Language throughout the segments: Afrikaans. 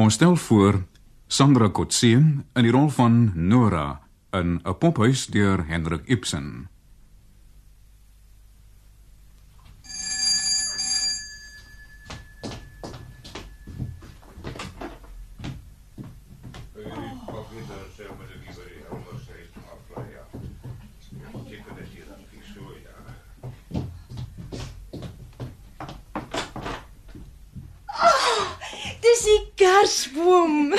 Ons stel voor Sandra Kotse in die rol van Nora in 'n pophuis deur Hendrik Ibsen. Dis die kersboom.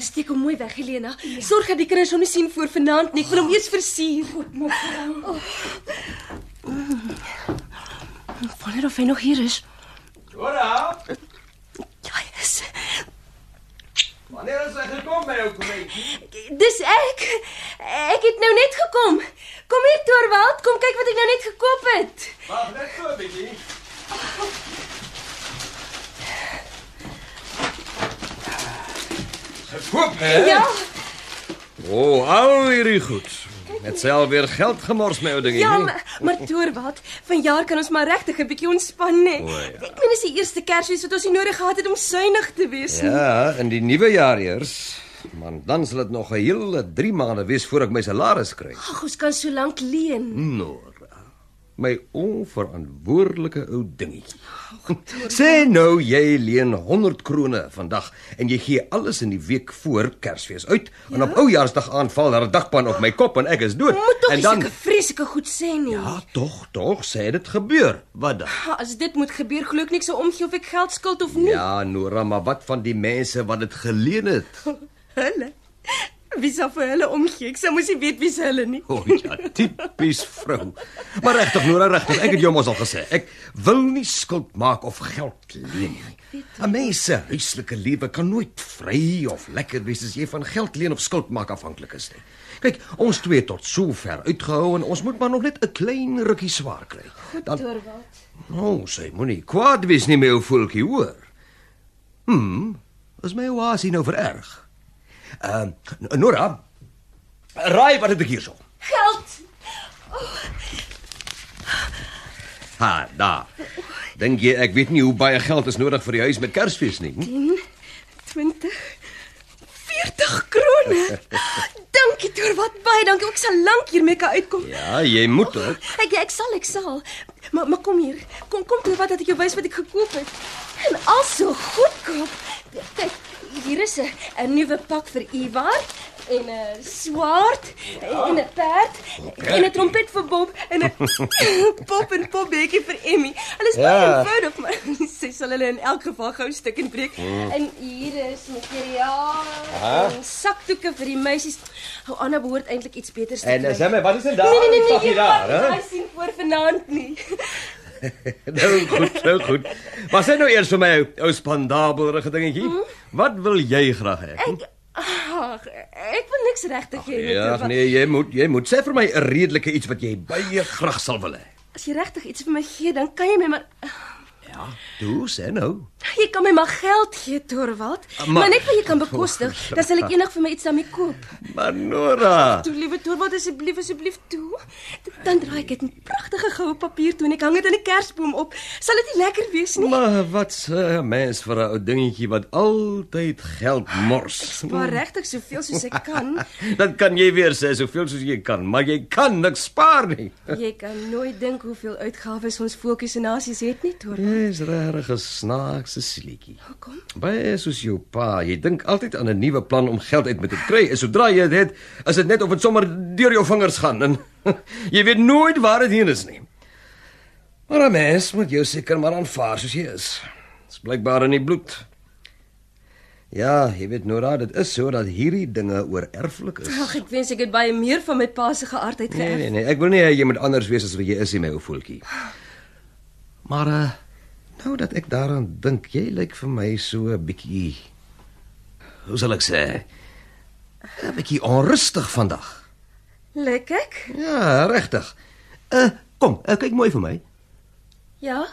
Steek hom mooi weg, Helena. Sorg dat die kinders hom nie sien voor vanaand nie. Ek wil hom eers versier. Oh. Goed, mevrou. Hmm. Wonder of hy nog hier is. Hoera! Ja, hy is. Wanneer is hy gekom by jou kollegie? Dis ek. Ek het nou net gekom. Kom hier, Torvald, kom kyk wat ek nou net gekoop het. Wag net so 'n bietjie. Gekoop, hè? Ja, O, oh, al hierdie goed. Het self weer geld gemors met jou dingie. ja, nie? maar, maar Torvald, vanjaar kan ons maar regtig 'n bietjie ontspan, hè. O, ja. Ek meen dis die eerste Kersfees wat ons nie nodig gehad het om suinig te wees nie. Ja, in die nuwe jaar eers. Man, dan sal dit nog 'n hele 3 maande wees voor ek my salaris kry. Ag, ons kan so lank leen. Nora, my onverantwoordelike ou dingetjie. Oh, Sê nou jy leen 100 krone vandag en jy gee alles in die week voor Kersfees uit en op Oujaarsdag aanval daar 'n dagpan op my kop en ek is dood. Ja? Moet tog en nie dan sulke vreeslike goed sê nie. Ja, tog, tog, sê dit gebeur. Wat dan? Ha, As dit moet gebeur, glo ek niks sou omgee of ek geld skuld of nie. Ja, Nora, maar wat van die mense wat dit geleen het? Hulle. Wie sal vir hulle omgee? Ek sou mos nie weet wie se hulle nie. O oh, ja, tipies vrou. Maar regtig Nora, regtig, ek het jou mos al gesê. Ek wil nie skuld maak of geld leen nie. 'n Mens se huislike lewe kan nooit vry of lekker wees as jy van geld leen of skuld maak afhanklik is nie. Kyk, ons twee het tot sover uitgehou en ons moet maar nog net 'n klein rukkie swaar kry. Dan Torvald. nou, sê moenie kwaad wees nie met jou voeltjie, hoor. Hm, is my oasie nou vererg? Ehm uh, Nora, raai wat het ek hierso? Geld. Ha, daar. Dink jy ek weet nie hoe baie geld is nodig vir die huis met Kersfees nie? hm? 20 40 krone. dankie Torvald, baie dankie. Ek sal lank hiermee kan uitkom. Ja, jy moet ook. Ek ek sal ek sal. Maar maar kom hier. Kom kom toe wat dat ek jou wys wat ek gekoop het. En al so goedkoop. Kyk, hier is 'n 'n nuwe pak vir Ivar en 'n swaard en 'n perd en 'n trompet vir Bob en 'n pop en popbeetjie vir Emmy. Hulle is baie Ja. eenvoudig, maar sy sal hulle in elk geval gou stuk en breek. En hier is materiaal en sakdoeke vir die meisies. Ou Anna behoort eintlik iets beters te kry. my, eh, wat is dit Nee nee nee, nee jy kan nie daai sien voor vanaand nie. Nou goed, nou goed. Maar sê nou eers vir my, ou spandabelrige dingetjie. Wat wil jy graag hê? Hm? Hm? Ek ag, ek wil niks regtig hê nie. Ja, Turbo. nee, jy moet, jy moet sê vir my 'n redelike iets wat jy baie graag sal wil hê. As jy regtig iets vir my gee, dan kan jy my maar Ah. Ja, toe sê nou. jy kan my maar geld gee, Torvald. Ah, Maar- Maar net wat jy kan bekostig, dan sal ek eendag vir my iets daarmee koop. Maar Nora, Toe liewe Torvald, asseblief, asseblief toe. Dan draai ek dit in pragtige goue papier toe en ek hang dit aan 'n kersboom op. Sal dit nie lekker wees nie? maar wat 'n mens vir 'n ou dingetjie wat altyd geld mors. Maar regtig soveel soos ek kan. Dan kan jy weer sê soveel soos jy kan, maar jy kan niks spaar nie. Jy kan nooit dink hoeveel uitgawes ons voeltjies en nasies het nie, Torvald. Jy's regtig 'n snaakse sliekie. Hoekom? Baie soos jou pa, jy dink altyd aan 'n nuwe plan om geld uit met te kry. En sodra jy dit het, is dit net of dit sommer deur jou vingers gaan en jy weet nooit waar dit heen is nie. Maar 'n mens moet jou seker maar aanvaar soos jy is. Dit's blykbaar in die bloed. Ja, jy weet Nora, dit is so dat hierdie dinge oorerflik is. Ag, ek wens ek het baie meer van my pa se geaardheid Nee, geërf. nee, nee, ek wil nie hê jy moet anders wees as wat jy is nie, my ou voeltjie. Maar uh, nou dat ek daaraan dink, jy lyk vir my so 'n bietjie hoe sal ek sê? 'n bietjie onrustig vandag. nee. Lyk ek? Ja, Eh, regtig. Uh, kom, uh, kyk mooi vir my. Ja.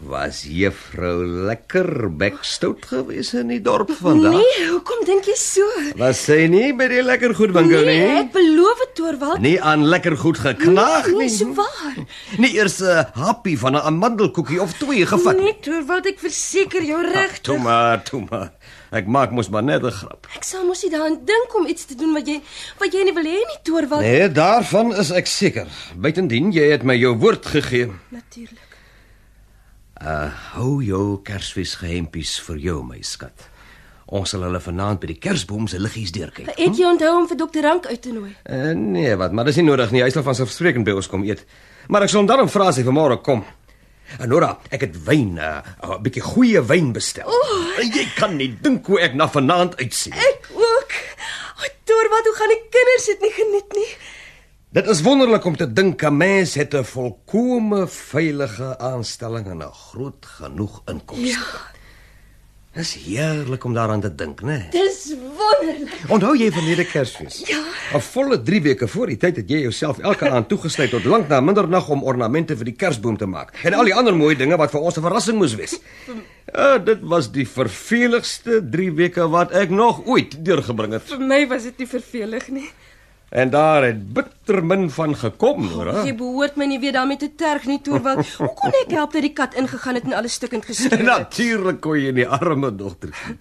Was juffrou lekker bekstout geweest in die dorp vandag? Nee, hoekom dink jy so? Was sy nie by die lekker goed winkel nee, nie? ek beloof dit, Torvald. Nie aan lekker goed geknaag nee, nie. so waar. Nie eers 'n happie van 'n amandelkoekie of twee gevat. Nee, Torvald, ek verseker jou Ag, toe regtig. maar, toe maar. Ek maak mos maar net 'n grap. Ek sal mos nie daaraan dink om iets te doen wat jy wat jy nie wil hê nie, Torvald. Nee, daarvan is ek seker. Buitendien, jy het my jou woord gegee. Eh, Natuurlik. Hou jou Kersfeesgeheimpies vir jou, my skat. Ons sal hulle vanaand by die kersboom se liggies deurkyk. Het jy onthou om vir dokter Rank uit te nooi? Uh, nee, wat, maar dis nie nodig nie. Hy sal vanselfsprekend by ons kom eet. Maar ek sal hom daarom vra as hy vanmôre kom. En Nora, ek het wyn, 'n uh, 'n bietjie goeie wyn bestel. Oh. Jy kan nie dink hoe ek na vanaand uitsien. Ek ook. O, Torvald, hoe gaan die kinders dit nie geniet nie? Dit is wonderlik om te dink 'n mens het 'n volkomme veilige aanstelling en 'n groot genoeg inkomste. Ja, Dis heerlik om daaraan te dink, né? Nee? dis wonderlik. Onthou jy verlede Kersfees? Ja. 'n Volle 3 weke voor die tyd het jy jouself elke aand toegesluit tot lank na mindernag om ornamente vir die Kersboom te maak en al die ander mooi dinge wat vir ons 'n verrassing moes wees. Ja, dit was die verveligste 3 weke wat ek nog ooit deurgebring het. Vir my was dit nie vervelig nie. En daar het bitter min van gekom, hoor. hè? Jy behoort my nie weer daarmee te terg nie, Torvald. Hoe kon ek help dat die kat ingegaan het en alles stukkend geskeur het? Natuurlik kon jy nie arme dogtertjie.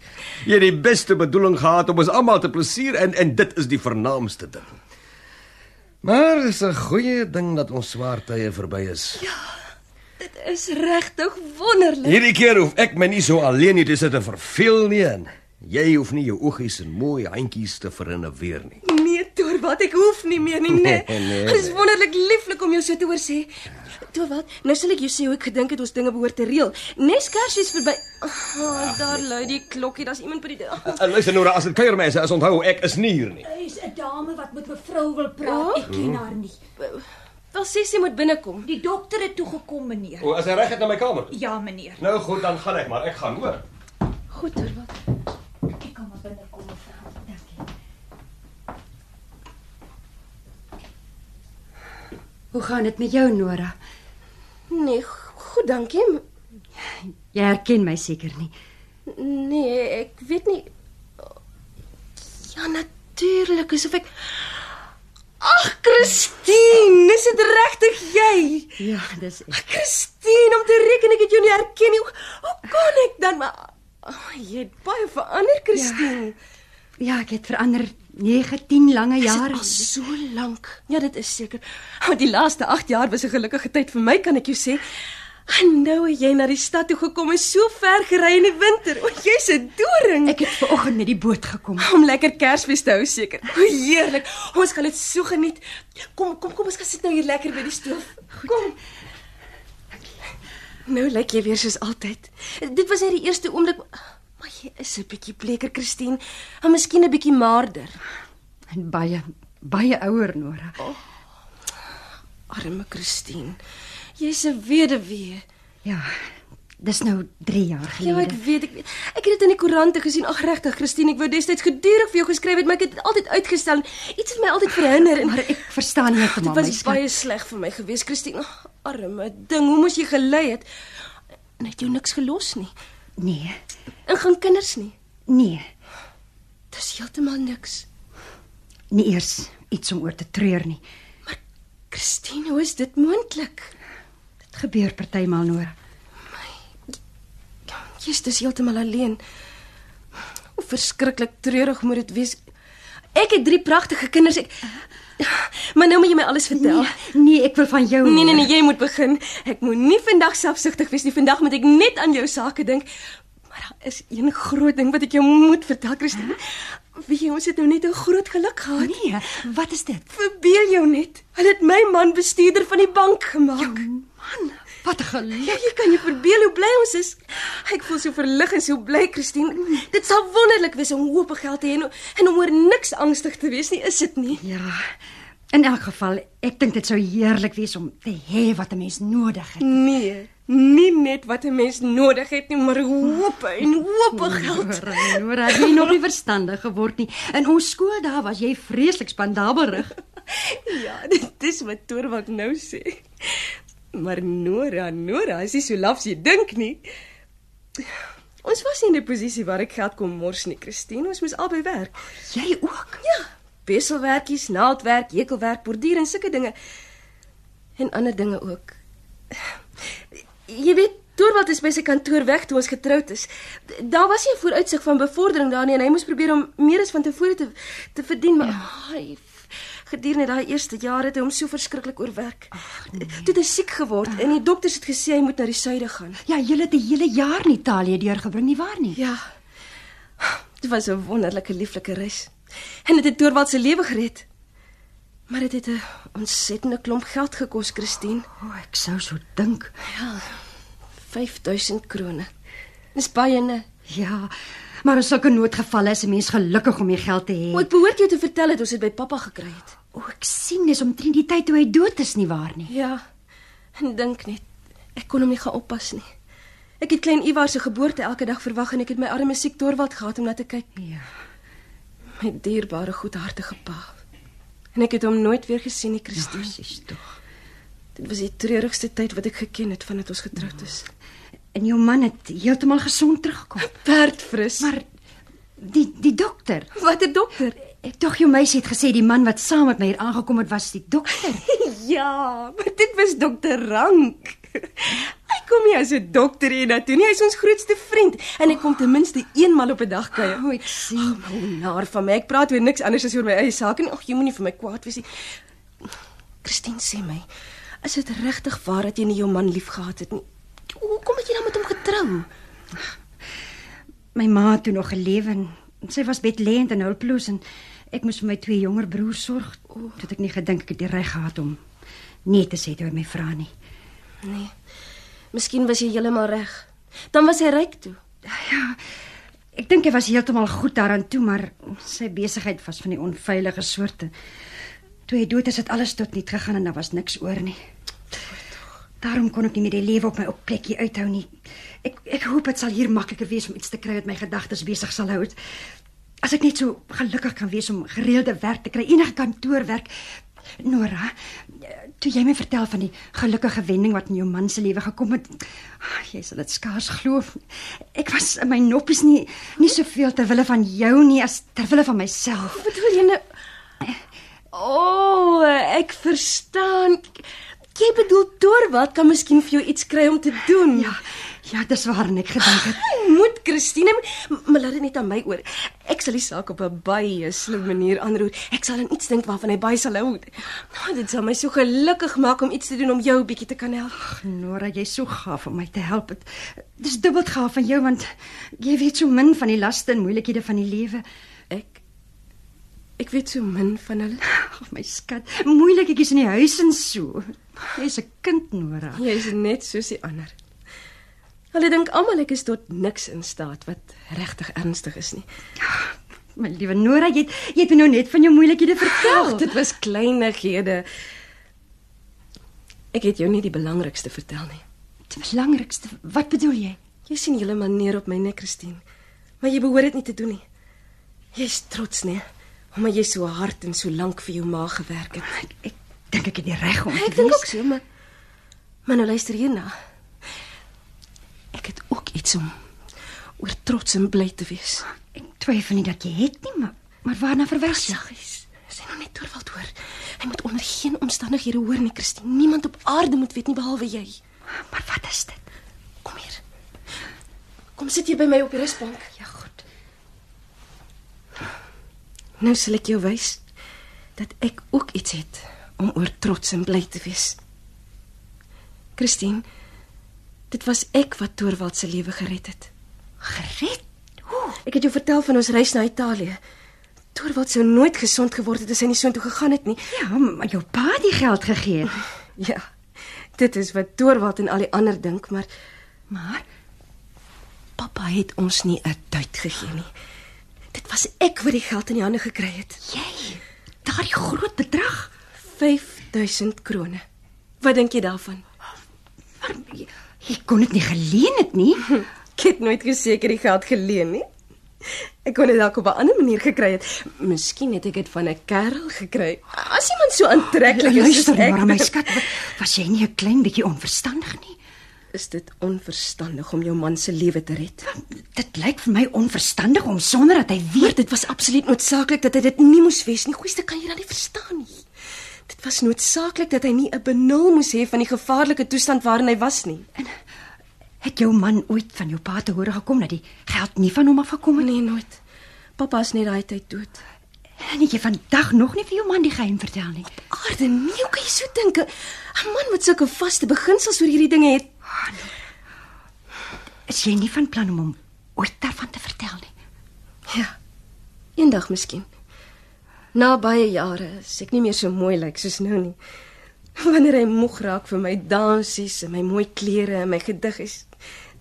Jy het die beste bedoeling gehad om ons almal te plesier en en dit is die vernaamste ding. Maar dis 'n goeie ding dat ons swaar tye verby is. Ja. Dit is regtig wonderlik. Hierdie keer hoef ek my nie so alleen hier te sit en verveel nie en jy hoef nie jou oogies en mooi handjies te verinneweer nie. Nee, Torvald, ek hoef nie meer nie, nee. Nee, nee, Dit is wonderlik lieflik om jou so te hoor sê. Torvald, nou sal ek jou sê hoe ek gedink het ons dinge behoort te reël. Nes Kersfees verby. Oh, daar lui die klokkie, daar's iemand by die deur. En- En luister nou, as dit kuiermense is, onthou ek is nie hier nie. Hy's 'n dame wat met mevrou wil praat. Oh. Ek ken haar nie. Wel sê sy moet binnekom. Die dokter het toe gekom, meneer. O, as hy reg het na my kamer. Ja, meneer. Nou goed, dan gaan ek maar. Ek gaan hoor. Goed, Torvald. Ek kan maar binne kom, mevrou. Dankie. Hoe gaan dit met jou, Nora? Nee, go- goed, dankie. Jy herken my seker nie. Nee, ek weet nie. Ja, natuurlik, asof ek Ag, Christine, is dit regtig jy? Ja, dis ek. Christine, om te reken ek het jou nie herken nie. Hoe- Hoe kon ek dan maar oh, jy het baie verander, Christine. Ja, ek het verander 9, 10 lange Ja, jare. al so lank. Ja, dit is seker. Want die laaste 8 jaar was 'n gelukkige tyd vir my, kan ek jou sê. En nou het jy na die stad toe gekom en so ver gery in die winter. O, jy's 'n doring. Ek het ver oggend met die boot gekom. Om lekker Kersfees te Oh, hou seker. O, heerlik. Ons gaan dit so geniet. Kom, kom, kom, ons gaan sit nou hier lekker by die stoof. Kom. Nou lyk jy weer soos altyd. Dit was net die eerste oomblik, maar jy is 'n bietjie bleker, Christine. En miskien 'n bietjie maarder. En baie baie ouer, Nora. Arme Christine. Jy's 'n weduwee. Ja. Dis nou 3 jaar Ja, ek gelede. weet, ek weet. Ek het dit in die koerante gesien. Ag, regtig, Christine, ek wou destyds gedurig vir jou geskryf het, maar ek het dit altyd uitgestel. en Iets het my altyd verhinder en maar ek verstaan nie Dit hoekom my was skat. baie sleg vir my gewees, Christine. Ag, arme ding, hoe moes jy gelei het? En hy het jou niks gelos nie. Nee. En gaan kinders nie. Nee. Dis heeltemal niks. Nie eers iets om oor te treur nie. Maar Christine, hoe is dit moontlik? Dit gebeur partymal, Nora. Jy's dis heeltemal alleen. Hoe verskriklik treurig moet dit wees. Ek het drie pragtige kinders. Ek Maar nou moet jy my alles vertel. Nee, nee, ek wil van jou. Nee nee hoor. nee, jy moet begin. Ek moenie vandag selfsugtig wees nie. Vandag moet ek net aan jou sake dink. Maar daar is een groot ding wat ek jou moet vertel, Christine. Wie jy ons het nou net 'n groot geluk gehad. Nee, wat is dit? Verbeel jou net. Hulle het my man bestuurder van die bank gemaak. Wat 'n geluk. Ja, jy kan jou verbeel hoe bly ons is. Ek voel so verlig en so bly, Christine. Dit sal wonderlik wees om hoop op geld te hê en- en om oor niks angstig te wees nie, is dit nie? Ja. In elk geval, ek dink dit sou heerlik wees om te hê wat 'n mens nodig het. Nee, nie net wat 'n mens nodig het nie, maar hoop en hoop op geld. Nora, Nora, jy het nog nie verstandig geword nie. In ons skool daar was jy vreeslik spandabelrig. Ja, dit is wat Torwak nou sê. Maar Nora, Nora, is nie so laf as jy dink nie. Ons was nie in 'n posisie waar ek geld kon mors nie, Christine. Ons moes albei werk. Jy ook? Ja, beselwerkies, naaldwerk, hekelwerk, borduur en sulke dinge. En ander dinge ook. Jy weet, Torvald is by sy kantoor weg toe ons getroud is. D- Daar was nie 'n vooruitsig van bevordering daar nie en hy moes probeer om meer as van tevore te te verdien, maar ja. hy gedurende daai eerste jare het hy hom so verskriklik oorwerk. Ach, nee. Toe het hy siek geword en die dokters het gesê hy moet na die suide gaan. Ja, jy het 'n hele jaar in Italië deurgebring, nie waar nie? Ja. Dit was 'n wonderlike lieflike reis. En dit het Torvald se lewe gered. Maar dit het 'n ontsettende klomp geld gekos, Christine. O, oh, ek sou so dink. Ja. 5000 krone. Dis baie ne. Ja. Maar in sulke noodgevalle is 'n mens gelukkig om die geld te hê. O, ek behoort jou te vertel dat ons dit by pappa gekry het. O, ek sien dis omtrent die tyd toe hy dood is nie waar nie. Ja. En dink net, ek kon hom nie gaan oppas nie. Ek het klein Ivar se geboorte elke dag verwag en ek het my arme siek Torvald gehad om na te kyk. Ja. My dierbare, goedhartige pa. En ek het hom nooit weer gesien nie, Christine. Presies tog. Dit was die treurigste tyd wat ek geken het vandat ons getroud is. En jou man het heeltemal gesond teruggekom. Perdfris. Maar Maar die die dokter, watter dokter? ek tog jou meisie het gesê die man wat saam met my hier aangekom het was die dokter. Ja, maar dit was dokter Rank. Hy kom nie as 'n dokter hier na toe nie, hy is ons grootste vriend en hy kom ten minste eenmal op 'n dag kuier. O, ek sien. Hoe naar van my. Ek praat weer niks anders as oor my eie saak en ag, jy moenie vir my kwaad wees nie. Christine sê my, is dit regtig waar dat jy nie jou man liefgehad het nie? Hoekom het jy dan nou met hom getrou? My ma het toe nog geleef en sy was bedlêend en hulpeloos en ek moes vir my twee jonger broers sorg. Toe het ek nie gedink ek het die reg gehad om nee te sê toe hy my vra nie. Nee. Miskien was jy heeltemal reg. Dan was hy ryk toe. Ja, Ek dink hy was heeltemal goed daaraan toe, maar sy besigheid was van die onveilige soorte. Toe hy dood is, het alles tot niet gegaan en daar was niks oor nie. Daarom kon ek nie meer die lewe op my op plekkie uithou nie. Ek ek hoop dit sal hier makliker wees om iets te kry wat my gedagtes besig sal hou. As ek net so gelukkig kan wees om gereelde werk te kry, enige kantoorwerk. Nora, toe jy my vertel van die gelukkige wending wat in jou man se lewe gekom het, ah, jy sal dit skaars glo. Ek was in my noppies nie nie soveel ter wille van jou nie as ter wille van myself. Bedoel jy nou O, oh, ek verstaan. Jy bedoel Torwat kan miskien vir jou iets kry om te doen. Ja, ja, dis waar en ek gedink het. Jy moet Christine, m- maar laat dit net aan my oor. Ek sal die saak op 'n baie slim manier aanroer. Ek sal aan iets dink waarvan hy baie sal hou. Nou, dit sal my so gelukkig maak om iets te doen om jou 'n bietjie te kan help. Nora, jy's so gaaf om my te help. Het- Dis dubbel gaaf van jou want jy weet so min van die laste en moeilikhede van die lewe. Ek ek weet so min van hulle. Ag my skat, moeiliketjies in die huis en so. Jy's 'n kind, Nora. Jy's net soos die ander. Hulle dink almal ek is tot niks in staat wat regtig ernstig is nie. My liewe Nora, jy het, jy het my nou net van jou moeilikhede vertel. Ag, dit was kleinighede. Ek het jou nie die belangrikste vertel nie. die belangrikste. Wat bedoel jy? Jy sien julle manier op my nek, Christine. Maar jy behoort dit nie te doen nie. Jy's trots, nee, omdat jy so hard en so lank vir jou ma gewerk het. Ek, ek dink ek het die reg om te Ek dink wees. ook so, maar maar nou luister hierna. Ek het ook iets om oor trots en bly te wees. Ek twyfel nie dat jy het nie, maar maar waarna verwys jy? Saggies. Sy nou net Torvald hoor. Hy moet onder geen omstandighede hoor nie, Christine. Niemand op aarde moet weet nie behalwe jy. Maar wat is dit? Kom hier. Kom sit hier by my op die rusbank. Ja, goed. Nou sal ek jou wys dat ek ook iets het om oor trots en bly te wees. Christine, dit was ek wat Torvald se lewe gered het. Gered. Ek het jou vertel van ons reis na Italië. Torvald sou nooit gesond geword het as hy nie soontoe gegaan het nie. Ja, maar jou pa het die geld gegee. Ja. Dit is wat Torvald en al die ander dink, maar Maar pappa het ons nie 'n duit gegee nie. Dit was ek wat die geld in die hande gekry het. jy, daardie groot bedrag. 5000 krone. Wat dink jy daarvan? Maar jy, jy kon dit nie geleen het nie. Ek het nooit gesê ek het die geld geleen nie. Ek kon dit dalk op 'n ander manier gekry het. Miskien het ek dit van 'n kerel gekry. As iemand so aantreklik is, Luister soos ek, maar, my skat, wa- was jy nie 'n klein bietjie onverstandig nie? is dit onverstandig om jou man se lewe te red. Dit lyk vir my onverstandig om sonder dat hy Maar weet dit was absoluut noodsaaklik dat hy dit nie moes wees nie. Goeieste kan jy dan nie verstaan nie. Dit was noodsaaklik dat hy nie 'n benul moes hê van die gevaarlike toestand waarin hy was nie. het jou man ooit van jou pa te hore gekom dat die geld nie van hom af gekom het nie. Nee, nooit. Pappa is net daai tyd dood. En het jy vandag nog nie vir jou man die geheim vertel nie. Aarde, nee, hoe kan jy so dink? 'n Man met sulke vaste beginsels oor hierdie dinge het. Is jy nie van plan om hom ooit daarvan te vertel nie? Ja. Eendag miskien. Na baie jare, as ek nie meer so mooi lyk soos nou nie. Wanneer hy moeg raak vir my dansies en my mooi klere en my gediggies,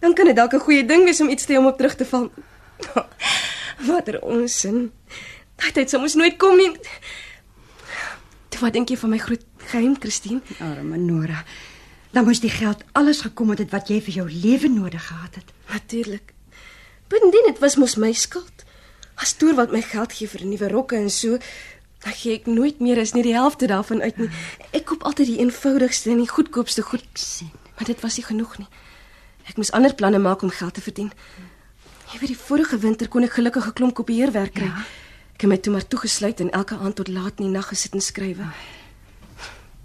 dan kan dit dalk 'n goeie ding wees om iets te hê om op terug te val. Watter onsin. Daai tyd sou mos nooit kom nie. Toe wat dink jy van my groot geheim, Christine? Arme Nora. Dan moes die geld alles gekom het wat jy vir jou lewe nodig gehad het. Natuurlik. Bindien dit was mos my skuld. As toer wat my geld gee vir nuwe rokke en so, dan gee ek nooit meer as nie die helfte daarvan uit nie. Ek koop altyd die eenvoudigste en die goedkoopste goed, sien. maar dit was nie genoeg nie. Ek moes ander planne maak om geld te verdien. Jy weet die vorige winter kon ek gelukkig 'n klomp kopieerwerk kry. Ja. Ek het my toe maar toegesluit en elke aand tot laat in die nag gesit en skryf.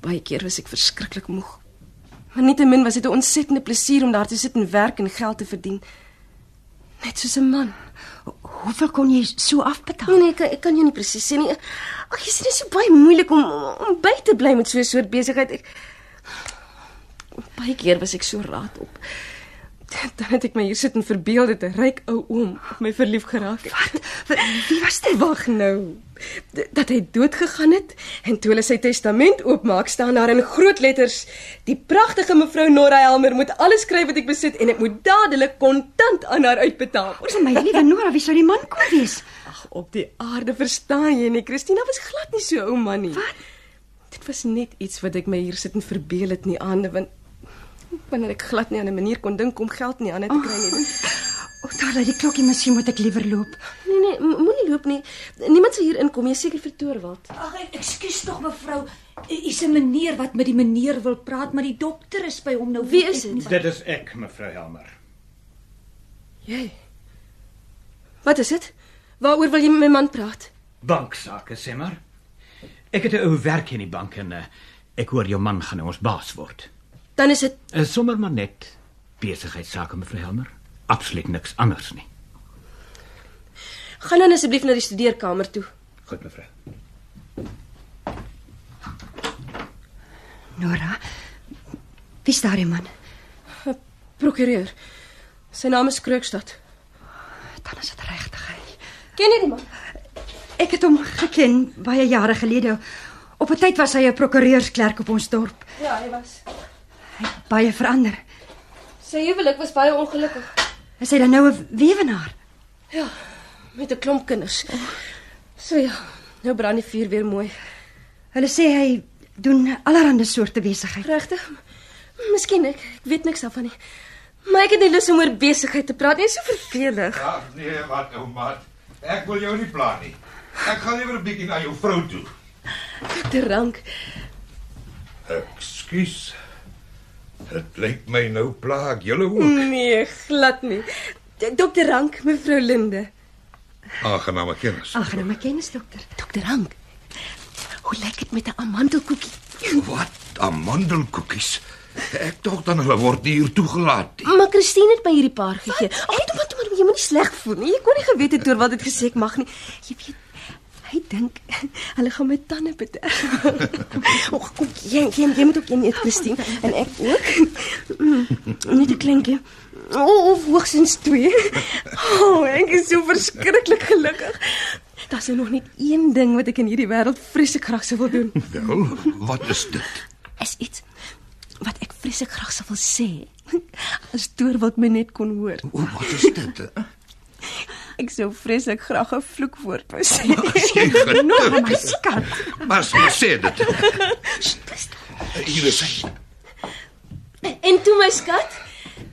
Baie keer was ek verskriklik moeg. Maar nietemin was dit 'n ontsettende plesier om daar te sit en werk en geld te verdien. Net soos 'n man. Ho- Hoeveel kon jy so afbetaal? Nee nee, ek, ek kan jou nie presies sê nie. Ag, jy sien dit is so baie moeilik om om- om by te bly met so 'n soort besigheid. Ek baie keer was ek so raad op. Dan het ek my hier sit en verbeel dit 'n ryk ou oom op my verlief geraak het. Wat? Wie was dit? Wag nou. D- Dat hy dood gegaan het en toe hulle sy testament oopmaak, staan daar in groot letters: "Die pragtige mevrou Norra Helmer moet alles kry wat ek besit en ek moet dadelik kontant aan haar uitbetaal." Ons my liewe Nora, wie sou die man kon wees? Ag, op die aarde verstaan jy nie, Christina was glad nie so 'n ou man nie. Wat? Dit was net iets wat ek my hier sit en verbeel het in die aande want wanneer ek glad nie aan 'n manier kon dink om geld nie aan te kry nie. O, daar lê die klokkie, miskien moet ek liewer loop. Nee nee, m- moenie loop nie. Niemand sal hier inkom, jy is seker vertoor word. Ag, ek- ekskuus tog mevrou. U is 'n meneer wat met die meneer wil praat, maar die dokter is by hom nou. Wie weet is dit? ek nie wat- Dit is ek, mevrou Helmer. Jy. Wat is dit? Waaroor wil jy met my man praat? Banksaake, sê maar. Ek het 'n ou werk in die bank en eh, ek hoor jou man gaan nou ons baas word. Dan is dit Uh, sommer maar net besigheidsake, mevrou Helmer. Absoluut niks anders nie. gaan dan asseblief na die studeerkamer toe. Goed, mevrou. Nora. Wie is daardie man? Prokureur. Sy naam is Kreukstad. Dan is dit regtig hy. Ken jy die man? Ek het hom geken baie jare gelede. Op 'n tyd was hy 'n prokureursklerk op ons dorp. Ja, hy was. Baie verander. Sy huwelik was baie ongelukkig Is hy dan nou 'n weewenaar? met 'n klomp kinders. So ja, nou brand die vuur weer mooi. Hulle sê hy doen allerlei soorte besigheid. Regtig? M- Miskien ek, ek weet niks daarvan nie. Maar ek het nie lus om oor besigheid te praat nie, dit is so vervelig. Ag nee, wat nou, maat. Ek wil jou nie pla nie. Ek gaan liewer 'n bietjie na jou vrou toe. Te rank. Ekskuus. Dit lyk my nou plaag julle ook. Nee, glad nie. Dokter Rank, mevrou Linde. Aangename kennis. Aangename kennis, dokter. Dokter Hank. Hoe lyk dit met 'n amandelkoekie? Wat amandelkoekies. Ek dink dan hulle word nie hier toegelaat nie. Maar Christine het my hierdie paar gegee. Ag, toe wat maar jy moenie sleg voel nie. Jy kon nie geweet het oor wat dit gesê ek mag nie. Jy weet, hy dink hulle gaan my tande bederf. Ag, kom jy, jy, jy moet ook een eet, Christine, en ek ook. Mm, Net 'n kleintjie. O, oh, of hoogstens twee. O, oh, ek is so verskriklik gelukkig. Daar's nou nog net een ding wat ek in hierdie wêreld vreeslik graag sou wil doen. Nou, wat is dit? is iets wat ek vreeslik graag sou wil sê. As Toor wat my net kon hoor. O, wat is dit? Ek sou vreeslik graag 'n vloekwoord wou sê. Nora, my skat. Maar sê sê dit. Hier is hy. En toe my skat,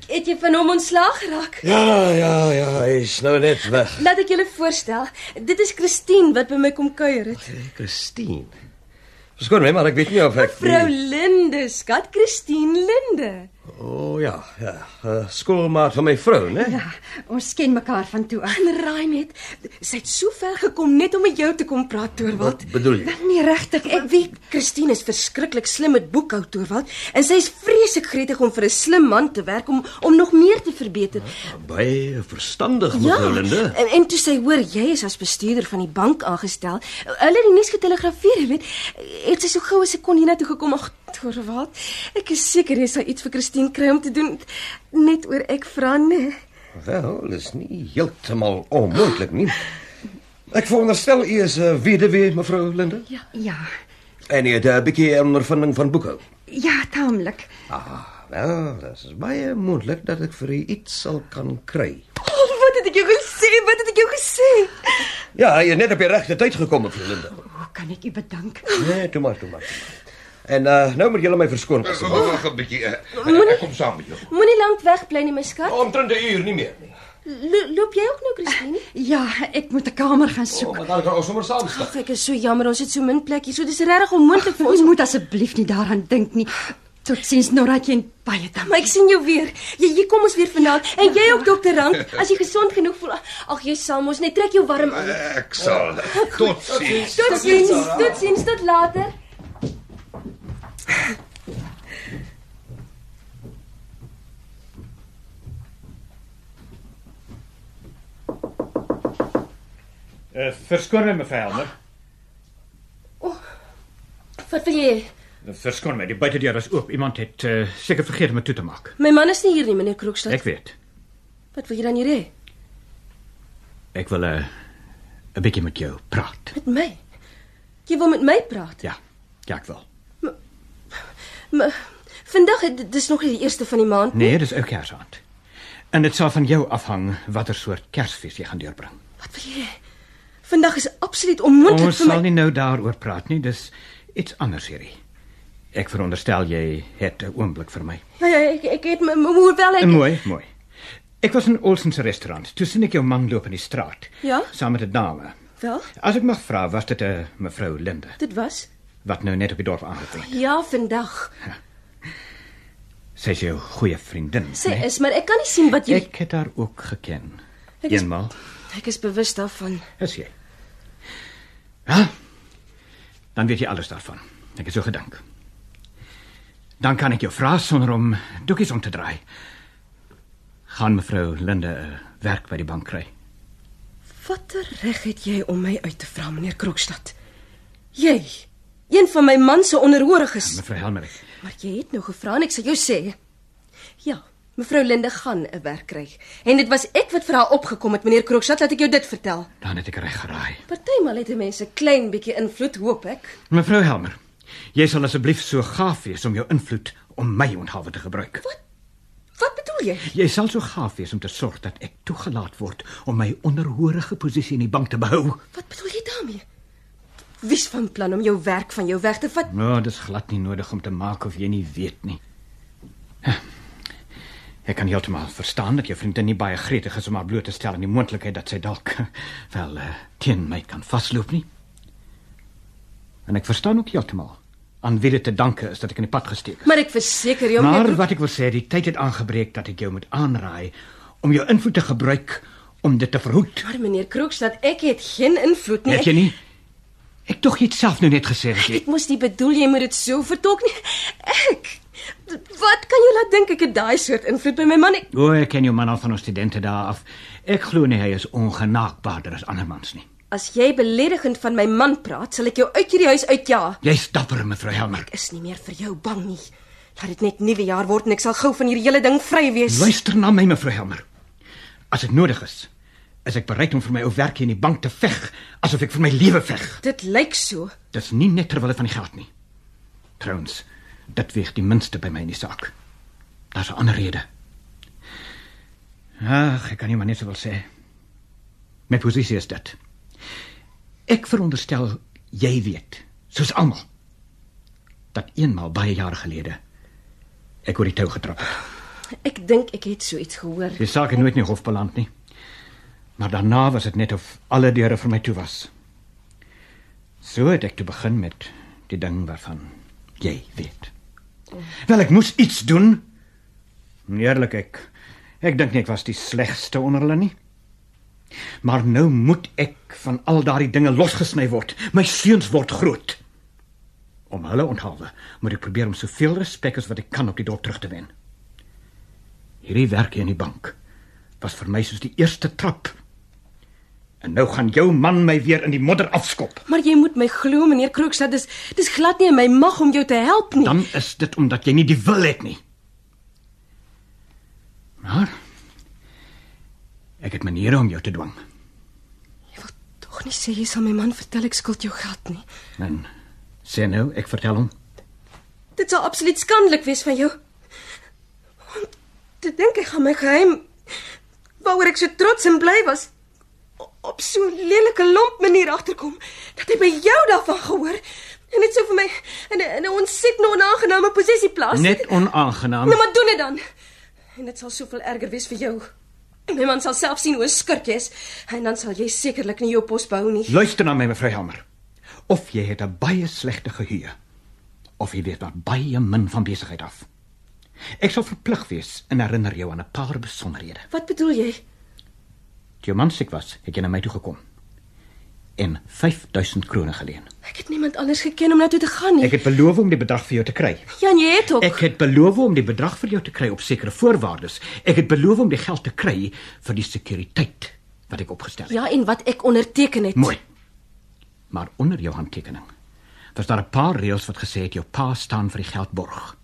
Het jy van hom ontslaag geraak? Ja, ja, ja, hy is nou net weg. Laat ek julle voorstel. Dit is Christine wat by my kom kuier het. Christine. Skoon my, maar ek weet nie of ek Vrou Linde, skat Christine Linde. O oh, ja, ja. Uh, skoolmaat van my vrou, né? Ja, ons ken mekaar van toe af. En raai net, sy het so ver gekom net om met jou te kom praat, Torwald. bedoel jy? Nee, regtig, Ek weet Christine is verskriklik slim met boekhou Torwald en sy is vreeslik gretig om vir 'n slim man te werk om om nog meer te verbeter. Baie verstandig, Ja. mevrou Linde. En, en toe sy hoor jy is as bestuurder van die bank aangestel, hulle het die nuus getelegrafeer, jy weet, het sy so gou as sy kon hiernatoe gekom. Ag, Torwald, ek is seker jy sal iets vir Christine kry om te doen net oor ek vra nee. Wel, is nie heeltemal onmoontlik nie. Ek veronderstel u is 'n weduwee, mevrou Linde. Ja. Ja. En u het 'n bietjie ondervinding van boekhou. Ja, taamlik. Ah, wel, dit is baie moontlik dat ek vir u iets sal kan kry. Oh, wat het ek jou gesê? Wat het ek jou gesê? Ja, jy het net op die regte tyd gekom, mevrou Linde. Hoe kan ek u bedank? Nee, toe maar, toe maar. toe maar. En uh, nou moet julle my verskoon asseblief. Wag 'n bietjie. eh, Ek kom saam met jou. Moenie lank wegbly nie, my skat. Omtrent 'n uur nie meer nie. Lo loop jy ook nou, Christine? Ja, ek moet 'n kamer gaan soek. maar dan kan ons sommer saam stap. Ag, ek is so jammer, ons het so min plek hier. So dis regtig onmoontlik vir ons. Ons moet asseblief nie daaraan dink nie. Totsiens Noratjie en baie dankie. Maar ek sien jou weer. Jy jy kom ons weer vanaand en jy ook dokter Rank as jy gesond genoeg voel. Ag, jy sal mos net trek jou warm aan. Ek sal. Eh, Tot sins. Tot sins, tot sins, tot later. Uh, verskoon my mevrou Helmer. Wat wil jy? Eh, Verskoon my, die buitedeur is oop. Iemand het uh, seker vergeet om dit toe te maak. My man is nie hier nie, meneer Kroekstad. Ek weet. Wat wil jy dan hier hê? Ek wil 'n uh, 'n bietjie met jou praat. Met my? Jy wil met my praat? Ja. Ja, ek wil. Maar vandag het- dis nog nie die eerste van die maand nie. Nee, dis ou Kersaand. En dit sal van jou afhang watter soort Kersfees jy gaan deurbring. Wat wil jy? hê? Vandag is absoluut onmoontlik Ons vir my. sal nie nou daaroor praat nie, dis iets anders hierdie. Ek veronderstel jy het 'n oomblik vir my. Ja, ja, ek ek het my my moeder wel En uit. mooi, mooi. Ek was in Olsen se restaurant. Toe sien ek jou man loop in die straat. Ja? Saam met 'n dame. Wel, As ek mag vra, was dit 'n mevrou Linde dit was wat nou net op die dorp aangekom het? ja vandag. Sy is jou goeie vriendin. Sy né? is, maar ek kan nie sien wat jy Nee. Ek het haar ook geken. Ek is- Eenmaal. Ek is bewus daarvan. Is jy? Ja. Dan weet jy alles daarvan. Ek het so gedink. Dan kan ek jou vra sonder om doekies om te draai. Gaan mevrou Linde 'n werk by die bank kry. Watter reg het jy om my uit te vra, meneer Krokstad? Jy, een van my man se onderhoriges. Mevrou Helmer. Maar jy het nou gevra en ek sal jou sê. Ja, mevrou Linde gaan 'n werk kry. En dit was ek wat vir haar opgekom het, meneer Krokstad, laat ek jou dit vertel. Dan het ek reg geraai. Partymal het 'n mens 'n klein bietjie invloed, hoop ek. Mevrou Helmer, jy sal asseblief so gaaf wees om jou invloed om my onthawe te gebruik. Wat? Wat bedoel jy? Jy sal so gaaf wees om te sorg dat ek toegelaat word om my onderhorige posisie in die bank te behou. Wat bedoel jy daarmee? Wie's van plan om jou werk van jou weg te vat? Nou, dis glad nie nodig om te maak of jy nie weet nie. Ek kan heeltemal verstaan dat jou vriendin nie baie gretig is om haar bloot te stel aan die moontlikheid dat sy dalk wel uh, teen my kan vasloop nie. En ek verstaan ook heeltemal aan wie dit te danke is dat ek in die pad gesteek het. Maar ek verseker jou, meneer Krokstad, Maar wat ek wil sê, die tyd het aangebreek dat ek jou moet aanraai om jou invloed te gebruik om dit te verhoed. maar meneer Krokstad, ek het geen invloed nie. Nee, Nee, Ek- het jy nie? Ek tog jy het self nou net gesê dat jy Ek moes nie bedoel jy moet dit so vertolk nie. Ek Wat kan jy laat dink ek het daai soort invloed by my man? Ek, O, ek ken jou man al van ons studente daar af. Ek glo nie hy is ongenaakbaarder as ander mans nie. as jy beledigend van my man praat, sal ek jou uit hierdie huis uitjaag. Jy's dapper, mevrou Helmer. Ek is nie meer vir jou bang nie. Laat dit net nuwe jaar word en ek sal gou van hierdie hele ding vry wees. Luister na my, mevrou Helmer. As dit nodig is, is ek bereid om vir my ou werk hier in die bank te veg, asof ek vir my lewe veg. Dit lyk so. Dis nie net terwyl van die geld nie. Trouwens, dit weeg die minste by my in die saak. Daar's 'n ander rede. Ag, ek kan nie maar net sowel sê. My posisie is dit. Ek veronderstel jy weet, soos almal, dat eenmal baie jare gelede ek oor die tou getrap het. Ek dink ek het so iets gehoor. Die saak het nooit in die hof beland nie. Maar daarna was dit net of alle deure vir my toe was. So het ek toe begin met die ding waarvan jy weet. Wel ek moes iets doen. Eerlik ek ek dink nie ek was die slegste onder hulle nie. Maar nou moet ek van al daardie dinge losgesny word. My seuns word groot. Om hulle onthaalwe moet ek probeer om soveel respek as wat ek kan op die dorp terug te wen. Hierdie werk hier in die bank was vir my soos die eerste trap. En nou gaan jou man my weer in die modder afskop. Maar jy moet my glo, meneer Krookstad, dis dis glad nie in my mag om jou te help nie. Dan is dit omdat jy nie die wil het nie. Maar ek het maniere om jou te dwing. Jy wil tog nie sê jy sal my man vertel ek skuld jou geld nie. En sê nou, ek vertel hom. Dit sal absoluut skandelik wees van jou. Om te dink ek gaan my geheim waaroor ek so trots en bly was o- op so 'n lelike lomp manier agterkom dat hy by jou daarvan gehoor en dit sou vir my in 'n in 'n ontsettende onaangename posisie plaas. Net onaangenaam. Nou maar doen dit dan. En dit sal soveel erger wees vir jou. My man sal self sien hoe 'n skurk jy is en dan sal jy sekerlik nie jou pos behou nie. Luister na my mevrou Hammer. Of jy het 'n baie slegte geheue of jy weet maar baie min van besigheid af. Ek sal verplig wees en herinner jou aan 'n paar besonderhede. Wat bedoel jy? Toe jou man siek was, het jy na my toe gekom en 5000 krone geleen. Ek het niemand anders geken om na toe te gaan nie. Ek het beloof om die bedrag vir jou te kry. Jan, jy het ook. Ek het beloof om die bedrag vir jou te kry op sekere voorwaardes. Ek het beloof om die geld te kry vir die sekuriteit wat ek opgestel het. Ja, en wat ek onderteken het. Mooi. Maar onder jou handtekening was daar 'n paar reëls wat gesê het jou pa staan vir die geldborg.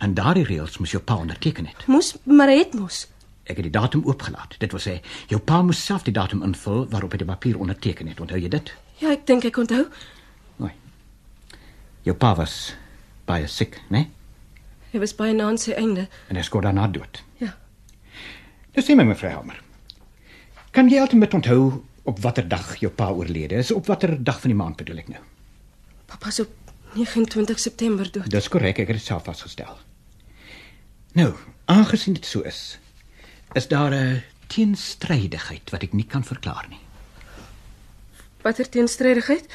En daardie reëls moes jou pa onderteken het. Moes maar hy het mos. Ek het die datum oopgelaat. Dit wil sê, jou pa moes self die datum invul waarop hy die papier onderteken het. Onthou jy dit? Ja, ek dink ek onthou. Mooi. Jou pa was baie siek, né? Nee? Hy was baie na aan sy einde. En hy skort daarna dood. Ja. Dis sê my mevrou Helmer. Kan jy altyd met onthou op watter dag jou pa oorlede is? Op watter dag van die maand bedoel ek nou? Pappa is op 29 September dood. Dis korrek, ek het dit self vasgestel. Nou, aangesien dit so is, is daar 'n teenstrydigheid wat ek nie kan verklaar nie. Watter teenstrydigheid?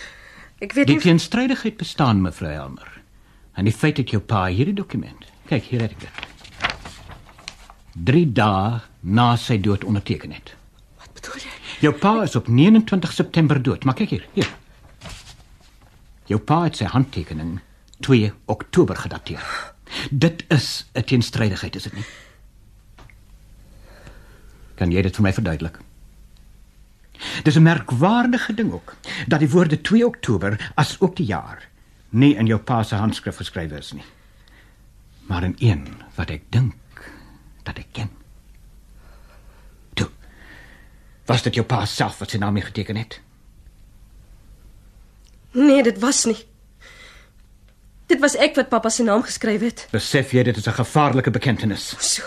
Ek weet Die nie. teenstrydigheid bestaan, mevrou Helmer. En die feit dat jou pa hierdie dokument, kyk hier het ek dit. 3 dae na sy dood onderteken het. Wat bedoel jy? Jou pa is op 29 September dood, maar kyk hier, hier. Jou pa het sy handtekening 2 Oktober gedateer. Dit is 'n teenstrydigheid, is dit nie? Kan jy dit vir my verduidelik? Dis 'n merkwaardige ding ook dat die woorde 2 Oktober as ook die jaar nie in jou pa se handskrif geskryf is nie. Maar in een wat ek dink dat ek ken. Toe, was dit jou pa self wat sy naam hier geteken het? Nee, dit was nie. Dit was ek wat pappa se naam geskryf het. Besef jy dit is 'n gevaarlike bekentenis? So.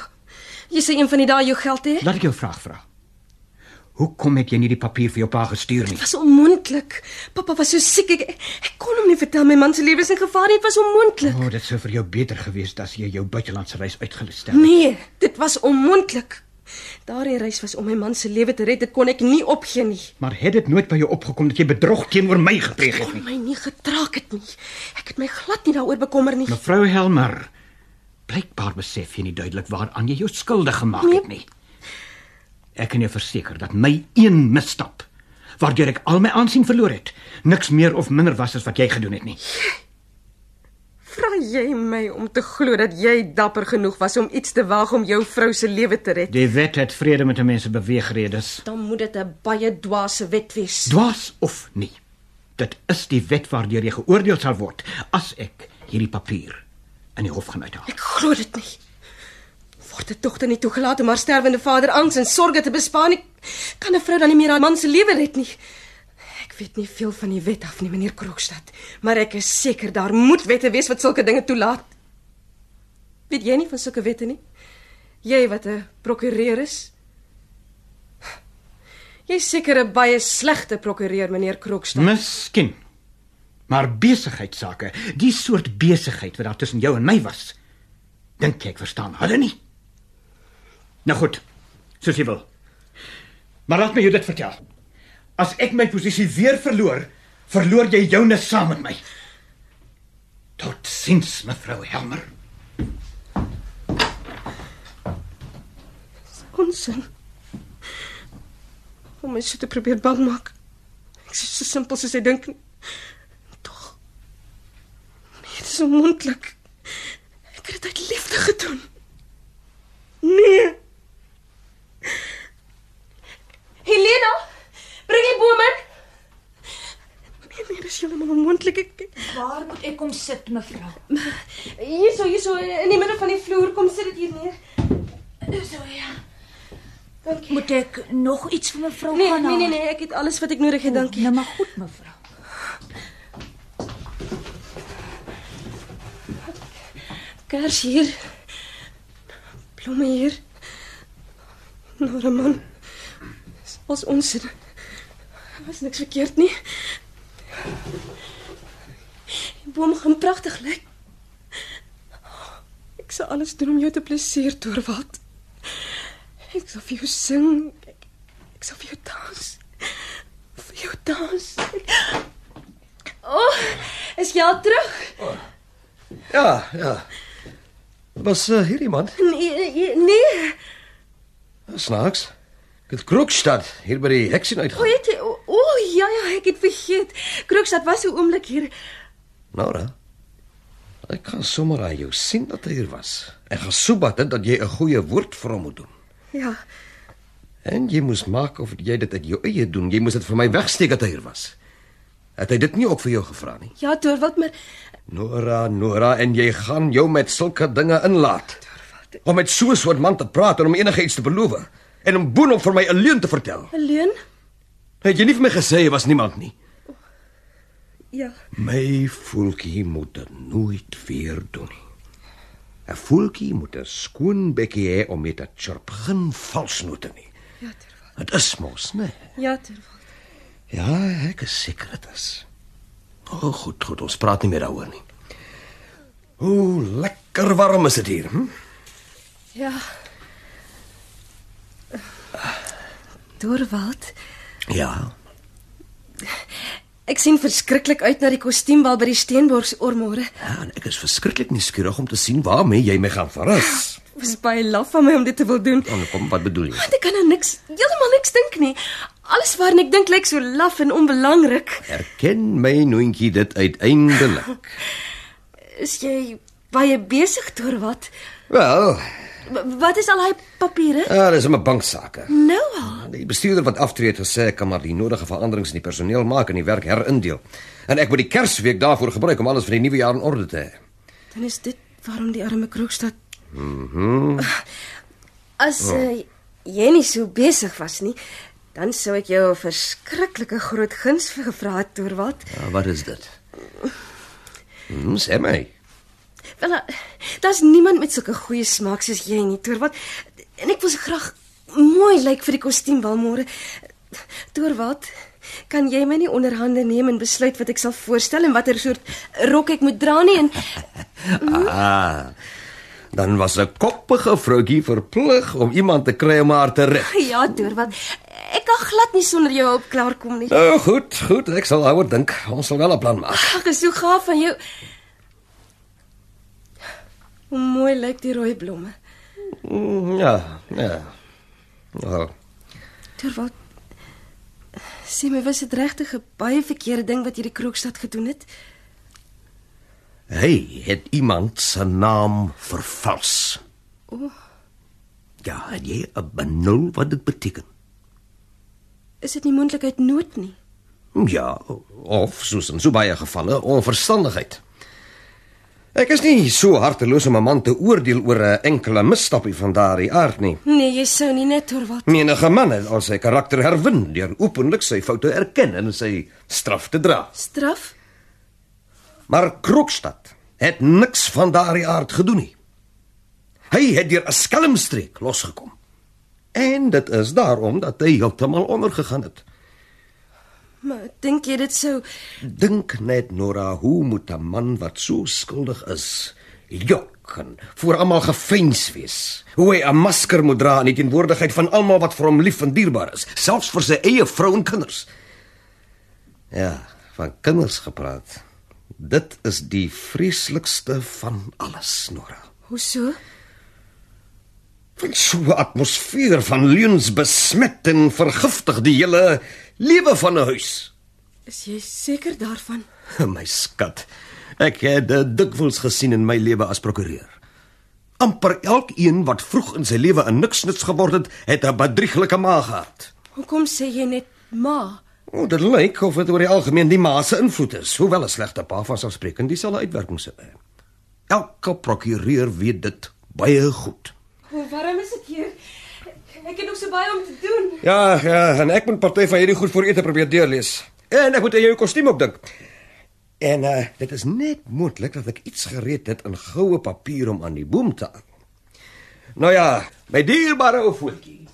Jy sê een van die dae jou geld hê? Laat ek jou 'n vraag vra. Hoekom het jy nie die papier vir jou pa gestuur nie? Dit was onmoontlik. Pappa was so siek. Ek, ek kon hom nie vertel my man se lewe is in gevaar nie. Dit was onmoontlik. O, oh, dit sou vir jou beter gewees het as jy jou buitelandse reis uitgeluster het. Nee, dit was onmoontlik. Daardie reis was om my man se lewe te red. Dit kon ek nie opgee nie. Maar het dit nooit by jou opgekom dat jy bedrog teenoor my gepleeg het kon nie? my nie getraak het nie. Ek het my glad nie daaroor bekommer nie. Mevrou Helmer, blykbaar besef jy nie duidelik waaraan jy jou skuldig gemaak het nie. Ek kan jou verseker dat my een misstap waardeur ek al my aansien verloor het, niks meer of minder was as wat jy gedoen het nie. Vra jy my om te glo dat jy dapper genoeg was om iets te waag om jou vrou se lewe te red? Die wet het vrede met 'n mens se beweegredes. Dan moet dit 'n baie dwaase wet wees. Dwaas of nie. Dit is die wet waardeur jy geoordeel sal word as ek hierdie papier in die hof gaan uithaal. Ek glo dit nie. Word 'n dogter nie toegelaat om haar sterwende vader angs en sorges te bespaar nie? Kan 'n vrou dan nie meer haar man se lewe red nie? Ek weet nie veel van die wet af nie, meneer Krogstad, maar ek is seker daar moet wette wees wat sulke dinge toelaat. Weet jy nie van sulke wette nie? Jy wat 'n prokureur is? Jy's seker 'n baie slegte prokureur, meneer Krogstad. Miskien. Maar besigheidsake, die soort besigheid wat daar tussen jou en my was, dink jy ek verstaan hulle nie? Nou goed, soos jy wil. Maar laat my jou dit vertel. As ek my posisie weer verloor, verloor jy joune saam met my. Tot sins, mevrou Helmer. Onsin. Om my so te probeer bang maak. Ek is so simpel soos hy dink. Tog. Nee, dit is onmoontlik. Ek het dit uit liefde gedoen. Nee. Helena, bring die boom in. Nee, nee, dis heeltemal onmoontlik. Ek Waar moet ek kom sit, mevrou? hierso, hierso in die middel van die vloer, kom sit dit hier neer. So ja. Dankie. Moet ek nog iets vir mevrou Nee, gaan nee, nee, nee, ek het alles wat ek nodig het, dankie. Nou maar goed, mevrou. Kers hier. Blomme hier. Nora man. Was ons was niks verkeerd nie. Die boom gaan pragtig lyk. Ek sal alles doen om jou te plesier, deur wat. Ek sal vir jou sing. Ek, ek sal vir jou dans. Vir jou dans. O, oh, is jy al terug? Ja, ja. Was uh, hier iemand? Nee, nee, nee. Snaaks. Ek het Krookstad hier by die heksin O, uitgaan. het jy o, o ja ja, ek het vergeet. Krookstad was 'n oomblik hier. Nora. Ek kan sommer aan jou sien dat hy hier was. Ek gaan soebat dit dat jy 'n goeie woord vir hom moet doen. Ja. En jy moes maak of jy dit uit jou eie doen. Jy moes dit vir my wegsteek dat hy hier was. Het hy dit nie ook vir jou gevra nie? Ja, Dorwald, maar Nora, Nora, en jy gaan jou met sulke dinge inlaat. Om met so 'n soort man te praat en om enigiets te beloof en om boonop vir my 'n leuen te vertel. alleen? Het jy nie vir my gesê jy was niemand nie? Ja. My voeltjie moet dit nooit weer doen nie. 'n Voeltjie moet 'n skoon bekkie hê om mee te chirp, geen valsnote nie. Ja, Dorwald. Dit is mos, né? Ja, Dorwald. Ja, ek is seker dit is. O, oh, goed, goed, ons praat nie meer daaroor nie. Hoe lekker warm is dit hier. Hm? Ja. Dorwald, Ja. ek sien verskriklik uit na die kostuumbal by die Steenborgs oor môre. Ja, en ek is verskriklik nuuskierig om te sien waarmee jy my gaan verras. Was baie laf van my om dit te wil doen. Dan Nou, kom, wat bedoel jy? Want ek kan nou niks, heeltemal niks dink nie. Alles waarna ek dink lyk so laf en onbelangrik. Erken my noontjie dit uiteindelik. Is jy baie besig, Dorwald? Wel, W- Wat is al daai papiere? ja, dis 'n banksake. Nou al. Die bestuurder wat aftree het gesê ek kan maar die nodige veranderings in die personeel maak en die werk herindeel. En ek moet die Kersweek daarvoor gebruik om alles vir die nuwe jaar in orde te hê. Dan is dit waarom die arme Krookstad. Mhm. As eh, jy nie so besig was nie, dan sou ek jou 'n verskriklike groot guns vir gevra het, oor wat? Ja, Eh, wat is dit? Hm, sê my. Wel, eh, daar's niemand met sulke goeie smaak soos jy nie, oor wat? En ek wil so graag mooi lyk vir die kostuum wel môre. Oor wat? Kan jy my nie onderhande neem en besluit wat ek sal voorstel en watter soort rok ek moet dra nie en Ah. Dan was 'n koppige vroutjie verplig om iemand te kry om haar te red. ja, oor wat? Ek kan glad nie sonder jou hulp klaarkom nie. Nou goed, goed, ek sal daaroor dink. Ons sal wel 'n plan maak. Ag, is so gaaf van jou. Hoe mooi lyk die rooi blomme. Mm, Ja, ja. Nou, Terwyl sê my was dit regtig 'n baie verkeerde ding wat hierdie Krookstad gedoen het. hy het iemand se naam vervals. Ja, het jy 'n benul wat dit beteken? Is dit nie moontlikheid nood nie? Ja, of soos in so baie gevalle onverstandigheid. Ek is nie so harteloos om 'n man te oordeel oor 'n enkele misstappie van daardie aard nie. Nee, jy sou nie net oor wat. Menige man het al sy karakter herwin deur openlik sy foute erken en sy straf te dra. Straf? Maar Krokstad het niks van daardie aard gedoen nie. Hy het deur 'n skelmstreek losgekom. En dit is daarom dat hy heeltemal ondergegaan het. Maar dink jy dit sou Dink net Nora, hoe moet 'n man wat so skuldig is, jok kan voor almal gefeins wees. Hoe hy 'n masker moet dra in die teenwoordigheid van almal wat vir hom lief en dierbaar is, selfs vir sy eie vrou en kinders. Ja, van kinders gepraat. Dit is die vreeslikste van alles, Nora. Hoe so? Van so 'n atmosfeer van leuns besmet en vergiftig die hele lewe van 'n huis. Is jy seker daarvan? My skat, ek het dit dikwels gesien in my lewe as prokureur. amper elkeen wat vroeg in sy lewe 'n niksnuts geword het, het 'n bedrieglike maag gehad. Hoekom sê jy net ma? O, dit lyk of dit oor die algemeen die ma se invloed is, hoewel 'n slegte pa vanselfsprekend dieselfde uitwerking sou hê. Elke prokureur weet dit baie goed. Hoe warm is dit hier? Ek het nog so baie om te doen. Ja, ja, en ek moet party van hierdie goed voor ete probeer deurlees. En ek moet aan jou kostuum opdink. En uh dit is net moontlik dat ek iets gereed het in goue papier om aan die boom te hang. Nou ja, my dierbare ou voetjie.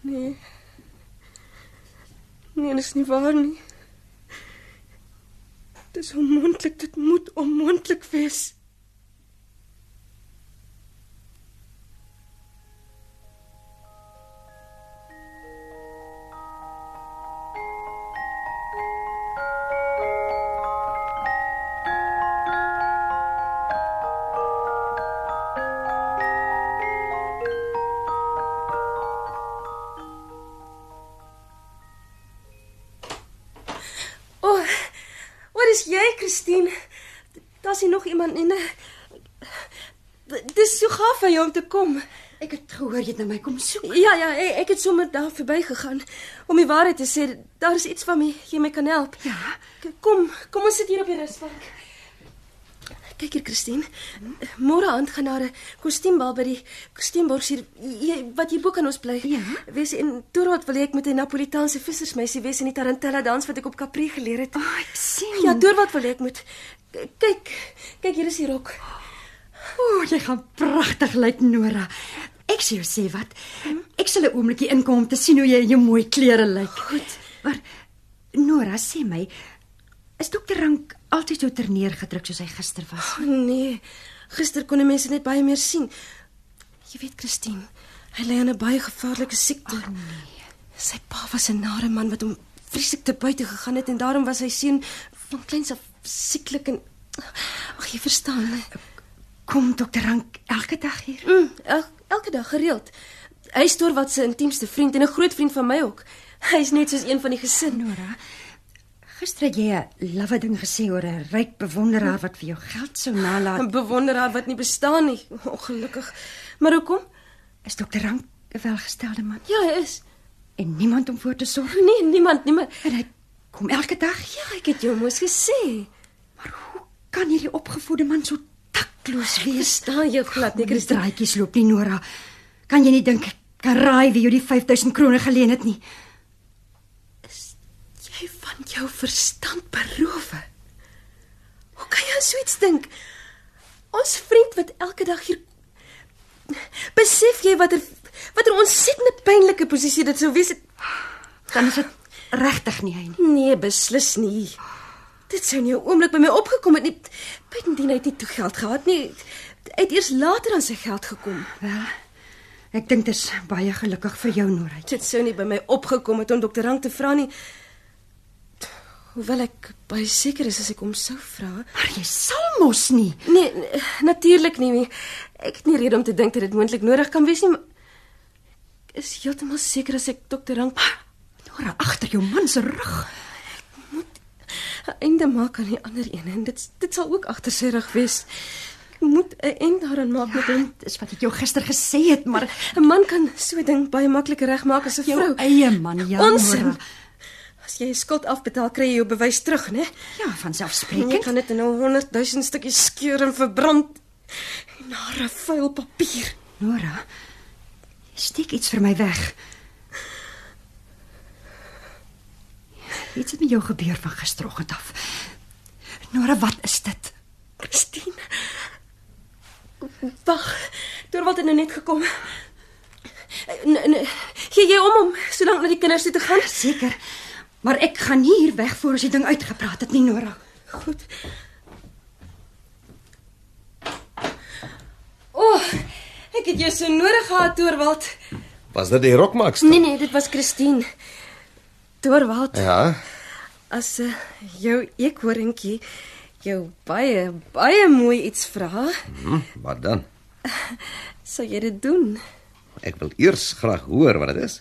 Nee. Nee, dit is nie waar nie. Dit is onmoontlik, dit moet onmoontlik wees. O, oh, wat is jy, Christine? Daar's hier nog iemand in. Dis so gaaf van jou om te kom. Ek het gehoor jy het na my kom soek. Ja, ja, e- ek het sommer daar verbygegaan om die waarheid te sê. Daar is iets van my, jy my kan help. Ja. Kom, kom ons sit hier op die rusbank. Kyk hier, Christine. Môre aand gaan daar 'n kostuumbal by die Kostuumborg hier jy- wat hierbo kan ons bly. Ja. Wees en Torot wil hê ek moet 'n Napolitaanse vissersmeisie wees in die Tarantella dans wat ek op Capri geleer het. Ah, ek sien. Ja, Torot wil hê ek moet. K- Kyk, kyk hier is die rok. O, jy gaan pragtig lyk, Nora. Ek sê jou sê wat. Ek sal 'n oombliekie inkom om te sien hoe jy in jou mooi klere lyk. Goed. Maar Nora, sê my, is dokter Rank altyd so terneergedruk soos hy gister was? O nee, gister kon die mense net baie meer sien. Jy weet Christine, hy ly aan 'n baie gevaarlike siekte. Oh, nee. Sy pa was 'n nare man wat hom vreeslik te buite gegaan het en daarom was sy seun van kleins af sieklik en ag jy verstaan. Hè? Kom dokter Rank elke dag hier? Mm, el, elke dag gereeld. Hy is deur wat sy intiemste vriend en 'n groot vriend van my ook. Hy is net soos een van die gesin. Nora, gister het jy 'n lawwe ding gesê oor 'n ryk bewonderaar wat vir jou geld sou nalat. 'n Bewonderaar wat nie bestaan nie, ongelukkig. Maar hoekom? Is dokter Rank 'n welgestelde man Ja, hy is. en niemand om voor te sorg? Nee, niemand, niemand. En hy kom elke dag? Ja, Ja, ek het jou mos gesê. kan hierdie opgevoede man so takloos wees? Verstaan jou glad nie, Ek is Christine. draadjies loop nie Nora. Kan jy nie dink ek kan raai wie jou die 5000 krone geleen het nie? Jy van jou verstand beroof. Hoe kan jy aan so iets dink? Ons vriend wat elke dag hier Besef jy watter watter ontsettende pynlike posisie dit sou wees? Dan is dit regtig nie hy nie. Nee, beslis nie. Dit sou nie 'n oomblik by my opgekom het nie. Bytendien hy het nie toe geld gehad nie. Hy het eers later aan sy geld gekom. Wel, ek dink dit is baie gelukkig vir jou Nora. Dit sou nie by my opgekom het om dokter Rank te vra nie. Hoewel ek baie seker is as ek hom sou vra. Maar jy sal mos nie. Nee, n- natuurlik nie. nie. Ek het nie rede om te dink dat dit moontlik nodig kan wees nie. maar Ek is heeltemal seker as ek dokter Rank Ah, Nora agter jou man se rug. Een einde maak aan die ander een en dit dit sal ook agter sy rug wees. Ek moet 'n eind daaraan maak met hom. Dit is wat ek jou gister gesê het, maar 'n Man kan so 'n ding baie maklik regmaak as 'n jou vrou. eie man, ja Onsin. Nora. As jy 'n skuld afbetaal, kry jy jou bewys terug, né? Ja, van En jy kan selfsprekend. dit in 'n 100 000 stukkies skeur en verbrand. Na 'n vuil papier. Nora, jy steek iets vir my weg. Iets het met jou gebeur van gisteroggend af. Nora, wat is dit? Christine. Wag. Dorwald het nou net gekom. Nee, nee. Gee jy om om solank na die kinders toe te gaan? Seker. Maar ek gaan nie hier weg voor as die ding uitgepraat het nie, Nora. Goed. Ek het jou so nodig gehad, Torwald. Was dit die rokmaakster? Nee nee, dit was Christine. Torwald, Ja. as uh, jou eekhoringkie jou baie baie mooi iets vra, Hm, Wat dan? sal jy dit doen? Ek wil eers graag hoor wat dit is.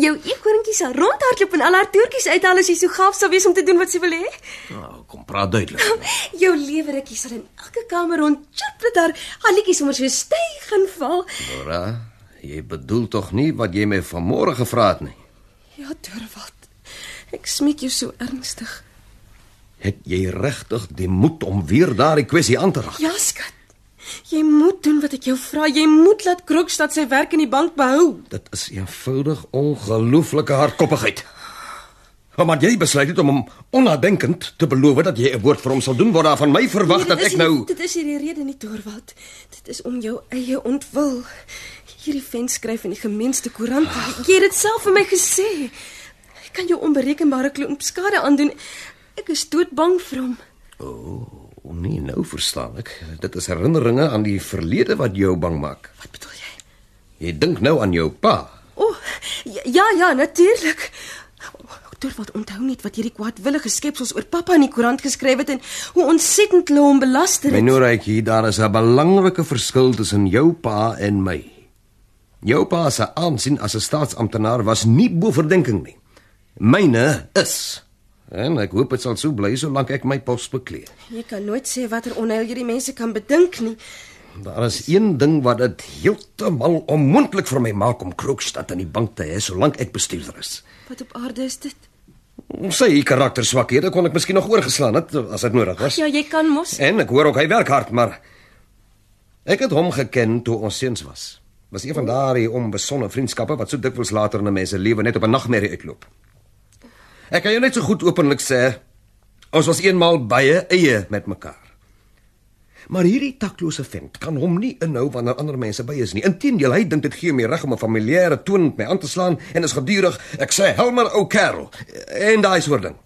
Jou eekhoringkie sal rondhardloop en al haar toertjies uithaal as jy so gaaf sou wees om te doen wat sy wil hê. Nou, kom praat duidelik. Jou leweretjie sal in elke kamer rond chirp dat haar halletjie sommer so styg en val. Nora, jy bedoel tog nie wat jy my vanmôre gevra het nie. Ja, Torwald. Ek smeek jou so ernstig. Het jy regtig die moed om weer daardie kwessie aan te raak? Ja, skat. Jy moet doen wat ek jou vra. Jy moet laat Krokstad sy werk in die bank behou. Dit is eenvoudig ongelooflike hardkoppigheid. Oh, Maar jy besluit het om hom onnadenkend te beloof dat jy 'n woord vir hom sal doen wat daar van my verwag Nee, dat dit ek is nou nie- Dit is hierdie rede nie, Torwald. Dit is om jou eie ontwil. Hierdie vent skryf in die gemeenste koerant. Jy het dit self vir my gesê. Ek kan jou onberekenbare klomp skade aandoen. Ek is doodbang vir hom. O nee, nou verstaan ek. Dit is herinneringe aan die verlede wat jou bang maak. Wat bedoel jy? Jy dink nou aan jou pa. O, oh, ja ja, natuurlik. Deur wat onthou net wat hierdie kwaadwillige skepsels oor pappa in die koerant geskryf het en hoe ontsettend hulle hom belaster My het. Noraitjie, daar is 'n belangrike verskil tussen jou pa en my. Jou pa se aansien as 'n staatsamptenaar was nie bo verdenking nie. Myne is. En ek hoop dit sal so bly solank ek my pos beklee. Jy kan nooit sê watter onheil hierdie mense kan bedink nie. Daar is een ding wat dit heeltemal onmoontlik vir my maak om Krookstad aan die bank te hê solank ek bestuurder is. Wat op aarde is dit? Sy karakterswakhede kon ek miskien nog oorgeslaan het as dit nodig was. Ja, jy kan mos. En ek hoor ook hy werk hard, maar ek het hom geken toe ons seuns was. Was een van daardie onbesonde vriendskappe wat so dikwels later in 'n mens se lewe net op 'n nagmerrie uitloop. Ek kan jou net so goed openlik sê, ons was eenmal baie eie met mekaar. Maar hierdie taklose vent kan hom nie inhou wanneer ander mense by is nie. Inteendeel, hy dink dit gee my reg om 'n familiêre toon met my aan te slaan en is gedurig, ek sê Helmer ou kerel en daai soort ding.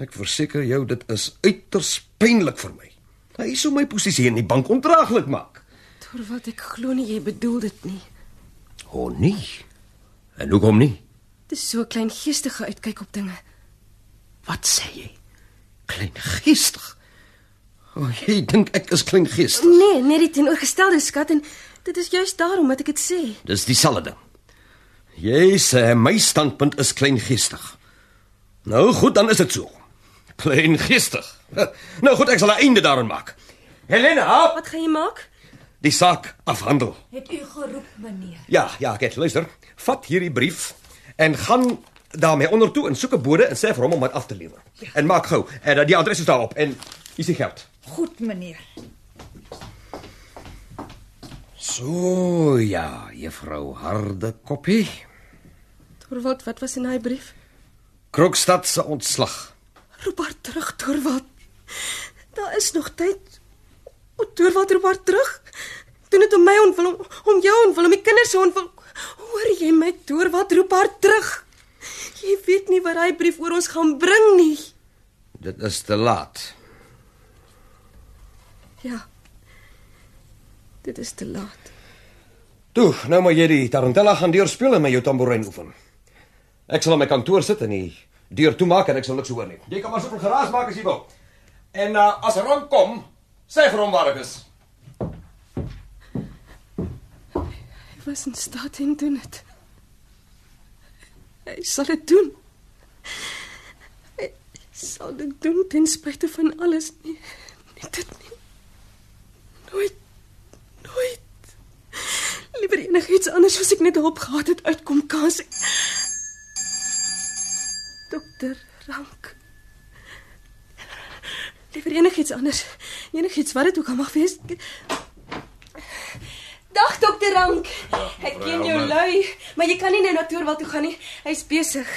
Ek verseker jou dit is uiters pynlik vir my. Hy sou my posisie in die bank ondraaglik maak. Deur wat ek glo nie jy bedoel dit nie. O oh, nee. En hoekom nie? Dis so klein geestige uitkyk op dinge. Wat sê jy? Kleingeestig. O, oh, jy dink ek is kleingeestig. Nee, net die teenoorgestelde skat en dit is juist daarom wat ek dit sê. Dis dieselfde ding. Jy sê my standpunt is kleingeestig. Nou goed, dan is dit so. Kleingeestig. Nou goed, ek sal 'n einde daaraan maak. Helena, Wat gaan jy maak? die saak afhandel. Het u geroep, meneer? Ja, ja, Ket, luister. Vat hierdie brief en gaan daarmee onder toe en soek 'n bode en sê vir hom om dit af te lewer. En maak gou. En dat die adres is daarop en hier is die geld. Goed, meneer. So ja, juffrou Harde Koppie. Torwald, wat was in daai brief? Krokstad se ontslag. Roep haar terug, Torwald. Daar is nog tyd. O, Torwald, roep haar terug. Doen dit om my ontwil, om, om jou ontwil, om die kinders se ontwil. Hoor jy my, Torwald, roep haar terug. Jy weet nie wat daai brief oor ons gaan bring nie. Dit is te laat. Ja. Dit is te laat. Toe, nou moet jy die tarantella gaan deurspeel en met jou tamboerijn oefen. Ek sal aan my kantoor sit en die deur toemaak en ek sal niks hoor nie. Jy kan maar soveel geraas maak as jy wil. En uh, as Ron kom, sê vir hom waar ek is. Hy was in staat en doen dit. Hy sal dit doen. Hy sal dit doen ten spyte van alles nie. Nie dit nie. Nooit. Nooit. Liewer enigiets anders as ek net hulp gehad het uitkom kans. Dokter Rank. Liewer enigiets anders. Enigiets wat dit ook al mag wees. Dag dokter Rank. Ek ken jou Helmer. lui, maar jy kan nie nou na Toorwal toe gaan nie. Hy's besig.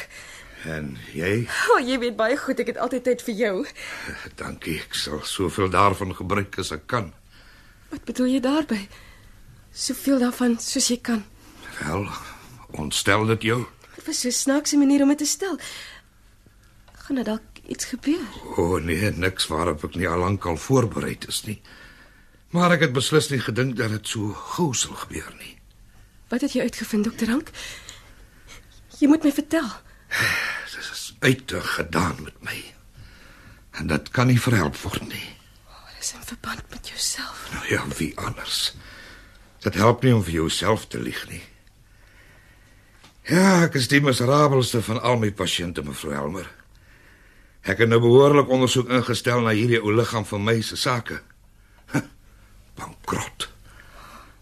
En jy? O, oh, jy weet baie goed ek het altyd tyd vir jou. Dankie, ek sal soveel daarvan gebruik as ek kan. Wat bedoel jy daarby? Soveel daarvan soos jy kan. Wel, ontstel dit jou. Dit was so 'n snaakse manier om dit te stel. Gaan dit dalk iets gebeur? O oh, nee, niks waarop ek nie al lank al voorberei is nie. Maar ek het beslis nie gedink dat dit so gou sal gebeur nie. Wat het jy uitgevind, dokter Hank? Jy moet my vertel. Dit is uitte gedaan met my. En dit kan nie verhelp word nie. Dis in verband met jouself. Nou ja, wie anders? Dit help nie om vir jouself te lieg nie. Ja, ek is die miserabelste van al my pasiënte, mevrou Helmer. Ek het nou behoorlik ondersoek ingestel na hierdie ou liggaam van my se sake. Huh, Bankrot.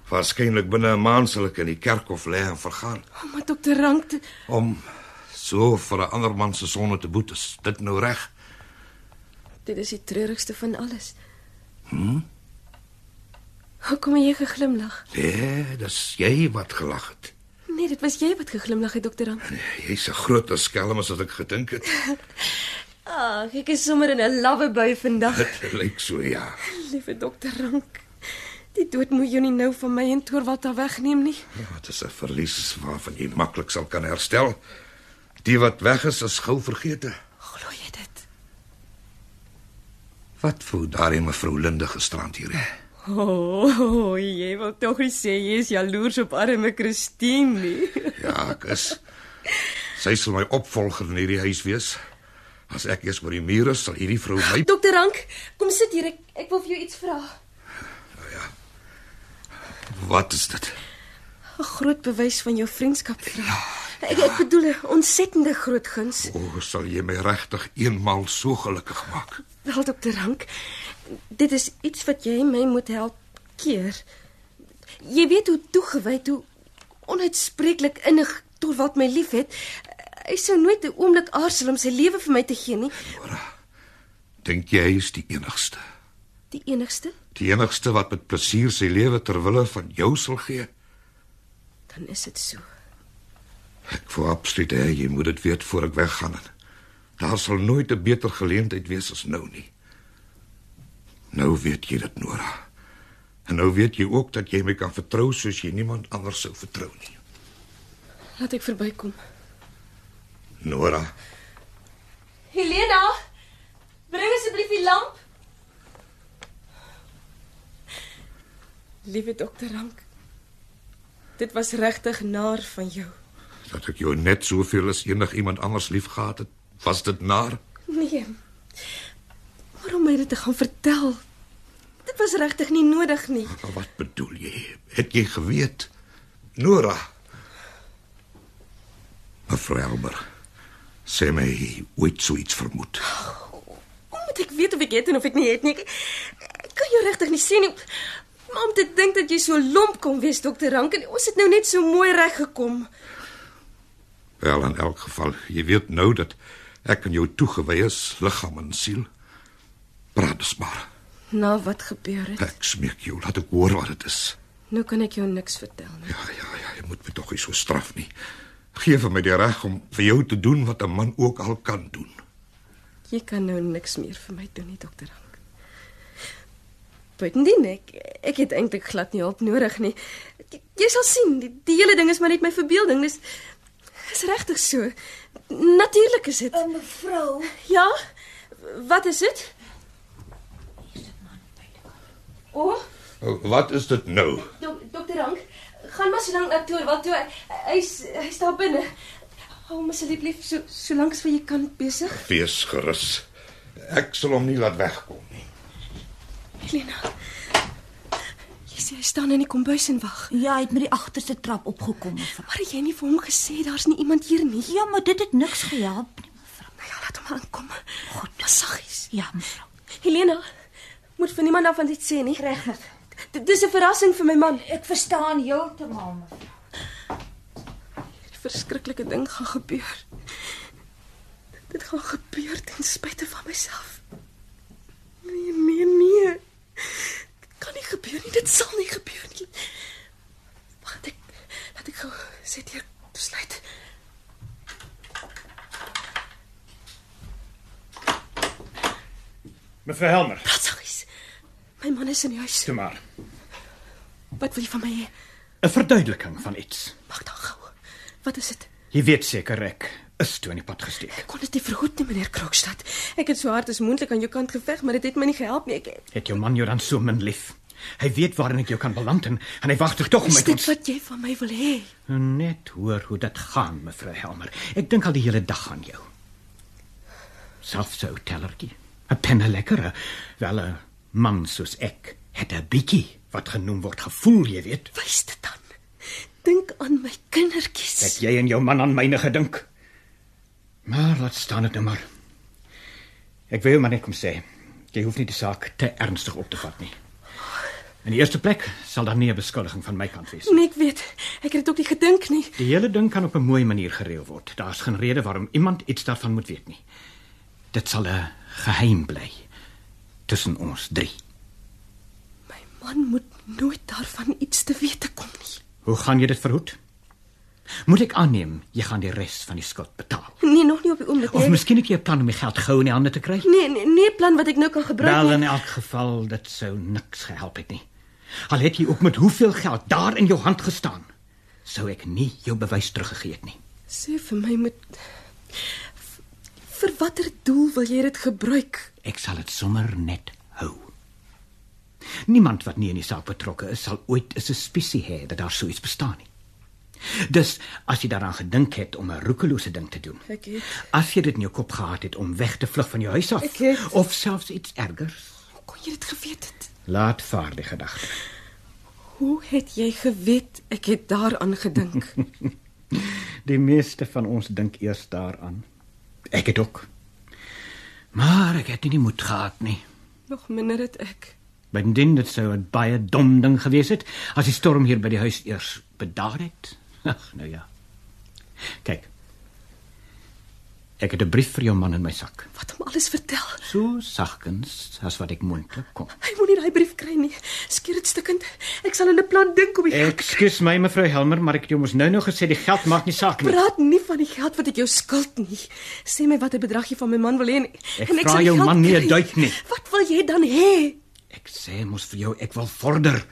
Waarskynlik binne 'n maand sal ek in die kerkhof lê en vergaan Oh, maar dokter Hank, dit- om so vir 'n ander man se sonde te boet. Is dit nou reg? dit is die treurigste van alles. Hm? Hoekom het jy geglimlag? Nee, dis jy wat gelag het. Nee, dit was jy wat geglimlag het, dokter Hank. Jy's 'n groter skelm as wat ek gedink het. Ag, ek Ah, is sommer in 'n lawwe bui vandag, Dit lyk so ja. liewe dokter Hank. Die dood moet jou nie nou van my en Torwalta wegneem nie. Ja, dit is 'n verlies waarvan jy maklik sal kan herstel. Die wat weg is, is gou vergete. Glo jy dit? Wat voel daardie mevrou Linde gisterand hier? hè? O, oh, jy wil tog nie sê jy is jaloers op arme Christine nie. Ja, ek is. Sy sal my opvolger in hierdie huis wees. As ek eers oor die muur is, sal hierdie vrou my Dokter Rank, kom sit hier. Ek ek wil vir jou iets vra. Wat is dit? 'n Groot bewys van jou vriendskap vra. Ek ek bedoel 'n ontsettende groot guns. O, oh, sal jy my regtig eenmal so gelukkig maak? Wel dokter Rank, dit is iets wat jy my moet help keer. Jy weet hoe toegewy, hoe onuitspreeklik innig tot wat my liefhet. Hy sou nooit 'n oomblik aarzel om sy lewe vir my te gee nie. Dink jy hy is die enigste? Die enigste, Die enigste wat met plesier sy lewe ter wille van jou sal gee? dan is dit so. Ek wou absoluut hê jy moet dit weet voor ek weggaan. Daar sal nooit 'n beter geleentheid wees as nou nie. Nou weet jy dit, Nora. En nou weet jy ook dat jy my kan vertrou soos jy niemand anders sou vertrou nie. Laat ek verbykom. Nora, Helena, bring asseblief die lamp. Liewe dokter Rank. Dit was regtig naar van jou. dat ek jou net soveel as enigiemand anders liefgehad het, was dit naar? Nee. Waarom my dit te gaan vertel? Dit was regtig nie nodig nie. Maar Wat bedoel jy? Het jy geweet? Nora. Mevrou Elmer, sê my het jy ooit so iets vermoed. Hoe moet ek weet of ek het en of ek nie het nie? Ek, ek kan jou regtig nie sien nie. Maar om te dink dat jy so lomp kon wees, dokter Rank, en ons het nou net so mooi reg gekom. Wel in elk geval, jy weet nou dat ek aan jou toegewy is, liggaam en siel. Praat dus maar. Na Nou, wat gebeur het, Ek smeek jou, laat ek hoor wat dit is. nou kan ek jou niks vertel nie. Ja, ja, ja, jy moet my tog nie so straf nie. Geef vir my die reg om vir jou te doen wat 'n man ook al kan doen. Jy kan nou niks meer vir my doen nie, dokter Hank. Buitendien ek ek het eintlik glad nie hulp nodig nie. Jy, jy sal sien, die, die hele ding is maar net my verbeelding. Dis is regtig so. Natuurlik is dit. Uh, mevrou, Ja. Wat is dit? O, oh, Wat is dit nou? do, dokter Hank, gaan maar so lank na toe, want toe hy's hy's daar binne. Hou hom asseblief so so lank as wat jy kan besig. Wees gerus. Ek sal hom nie laat wegkom nie. Helena. Jy sê hy staan in die kombuis en wag. ja, hy het met die agterste trap opgekom, mevrou. Maar het jy nie vir hom gesê daar's nie iemand hier nie? Ja, maar dit het niks gehelp nie, mevrou. Nou ja, laat hom aankom. God, maar saggies. Ja, mevrou. Helena, moet vir niemand daarvan iets sê nie. Reg, mevrou. D- Dis 'n verrassing vir my man. Ek verstaan heeltemal, mevrou. Die verskriklike ding gaan gebeur. Dit gaan gebeur ten spyte van myself. Nee, nee, nee. Dit kan nie gebeur nie. Dit sal nie gebeur nie. Wag, ek laat ek gou sit hier besluit. Mevrou Helmer, Praat saggies. My man is in die huis. toe maar. Wat wil jy van my hê? 'n Verduideliking van iets. Wag dan gou. Wat is dit? Jy weet seker ek is toe in die pad gesteek. Kon dit nie verhoed nie, meneer Krokstad. Ek het so hard as moontlik aan jou kant geveg, maar dit het my nie gehelp nie. Ek Het jou man jou dan so min lief? Hy weet waarin ek jou kan beland en, en hy wag tog om my Is dit wat jy van my wil hê? Net hoor hoe dit gaan, mevrou Helmer. Ek dink al die hele dag aan jou. Selfs so tellertjie. 'n Penne lekkere. Wel 'n man soos ek het 'n bietjie wat genoem word gevoel, jy weet. Wys dit dan. Dink aan my kindertjies. Het jy en jou man aan myne gedink? Maar laat staan dit nou maar. Ek wil jou maar net kom sê, jy hoef nie die saak te ernstig op te vat nie. In die eerste plek sal daar nie 'n beskuldiging van my kant wees. Nee, ek weet. Ek het dit ook nie gedink nie. Die hele ding kan op 'n mooi manier gereël word. Daar's geen rede waarom iemand iets daarvan moet weet nie. Dit sal 'n geheim bly tussen ons drie. My man moet nooit daarvan iets te wete kom nie. Hoe gaan jy dit verhoed? Moet ek aanneem jy gaan die res van die skuld betaal? Nee, nog nie op die oomblik Of nie. miskien het jy 'n plan om die geld gou in die hande te kry? Nee, nee, nee plan wat ek nou kan gebruik. Wel nie. in elk geval dit sou niks gehelp het nie. Al het jy ook met hoeveel geld daar in jou hand gestaan, sou ek nie jou bewys teruggegee het nie. Sê vir my met vir watter doel wil jy dit gebruik? Ek sal dit sommer net hou. Niemand wat nie in die saak betrokke is, sal ooit 'n suspisie hê dat daar so iets bestaan nie. Dus as jy daaraan gedink het om 'n roekelose ding te doen. Ek het- As jy dit in jou kop gehad het om weg te vlug van jou huis af Ek het- of selfs iets ergers, Hoe kon jy dit geweet het? laat vaar die gedagte. Hoe het jy geweet ek het daaraan gedink? Die meeste van ons dink eers daaraan. Ek het ook. Maar ek het nie die moed gehad nie. Nog minder het ek. Bindien dit sou 'n baie dom ding gewees het as die storm hier by die huis eers bedaar het. Ag, nou ja. Kyk. Ek het 'n brief vir jou man in my sak. Wat hom alles vertel. So sagkens as wat ek moontlik kon. Hy moenie daai brief kry nie. Skeer dit stikkend. Ek sal in 'n plan dink om die geld. Ekskuus my mevrou Helmer, maar ek het jou mos nou nog gesê die geld maak nie saak nie. Praat nie van die geld wat ek jou skuld nie. Sê my watter bedrag jy van my man wil hê en Ek en vra sal die jou geld man nie 'n kry. duit nie. Wat wil jy dan hê? Ek sê mos vir jou ek wil vorder.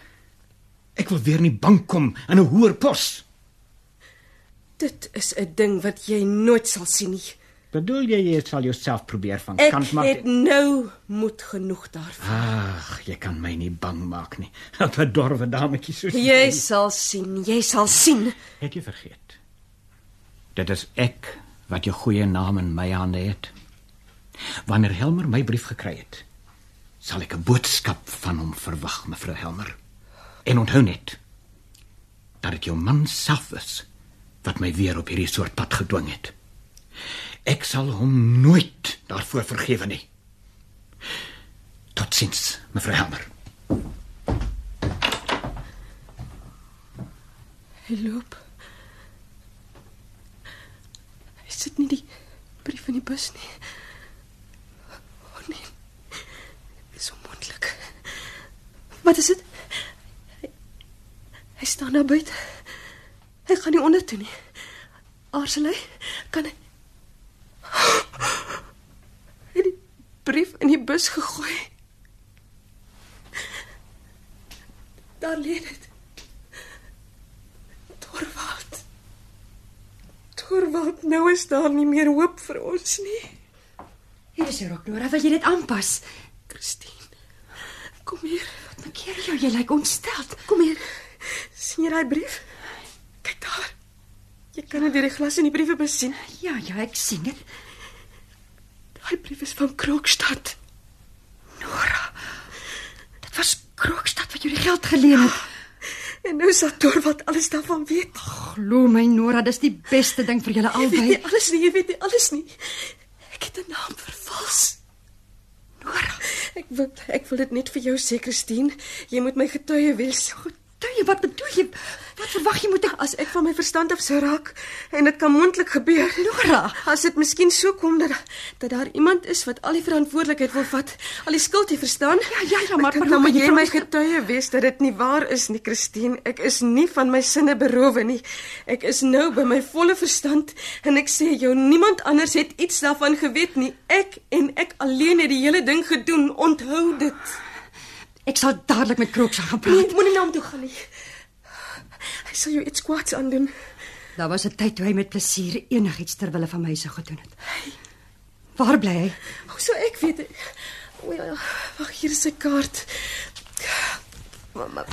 Ek wil weer in die bank kom in 'n hoër pos. Dit is 'n ding wat jy nooit sal sien nie. Bedoel jy jy sal jouself probeer van Ek kant maak? het nou moed genoeg daarvan. Ag, jy kan my nie bang maak nie. Dat 'n dorwe dametjie soos Jy sal sien, jy sal sien. Het jy vergeet? Dit is ek wat jou goeie naam in my hande het. Wanneer Helmer my brief gekry het, sal ek 'n boodskap van hom verwag, mevrou Helmer. En onthou net dat dit jou man self is wat my weer op hierdie soort pad gedwing het. Ek sal hom nooit daarvoor vergewe nie. Totsiens, mevrou Helmer. Hy loop. Hy sit nie die brief in die bus nie. O oh, nee. Dis onmoontlik. Wat is dit? Hy- Hy staan daar buite. Hy gaan nie onder toe nie. Aarzelei, kan hy Hy het die brief in die bus gegooi. Daar lê dit. Torvald. Torvald, nou is daar nie meer hoop vir ons nie. Hier is jou rok, Nora, wil jy dit aanpas? Christine. Kom hier. Wat maak jy? Jy lyk ontsteld. Kom hier. sien jy daai brief? Kyk daar. Jy kan dit deur die glas in die briefbus sien. Ja, ja, ek sien dit. Daai brief is van Krookstad. Dit was Krookstad wat jou die geld geleen het. En nou sal Torvald alles daarvan weet. Glo my Nora, dis die beste ding vir julle Jy weet albei. nie alles nie, jy weet nie alles nie. Ek het 'n naam vervals. Nora, ek wil ek wil dit net vir jou sê, Christine. Jy moet my getuie wees. Goed. Toe jy wat bedoel jy? Wat verwag jy moet ek As ek van my verstand af sou raak en dit kan moontlik gebeur. Nora! as dit miskien so kom dat dat daar iemand is wat al die verantwoordelikheid wil vat, al die skuld, jy verstaan? Ja, ja, ja, maar- dan dan maar hoe moet kan jy jy my veronderstel- getuie wees dat dit nie waar is nie, Christine. Ek is nie van my sinne beroof nie. Ek is nou by my volle verstand en ek sê jou niemand anders het iets daarvan geweet nie. Ek en ek alleen het die hele ding gedoen. Onthou dit. Ek sal dadelik met Krookstad gaan Nee, praat. moenie na hom toe gaan nie. Hy sal jou iets kwaads aandoen. Daar was 'n tyd toe hy met plesier enigiets ter wille van my sou gedoen het. Waar bly hy? Hoe sou ek weet? O ja, wag, hier is 'n kaart. Maar, maar,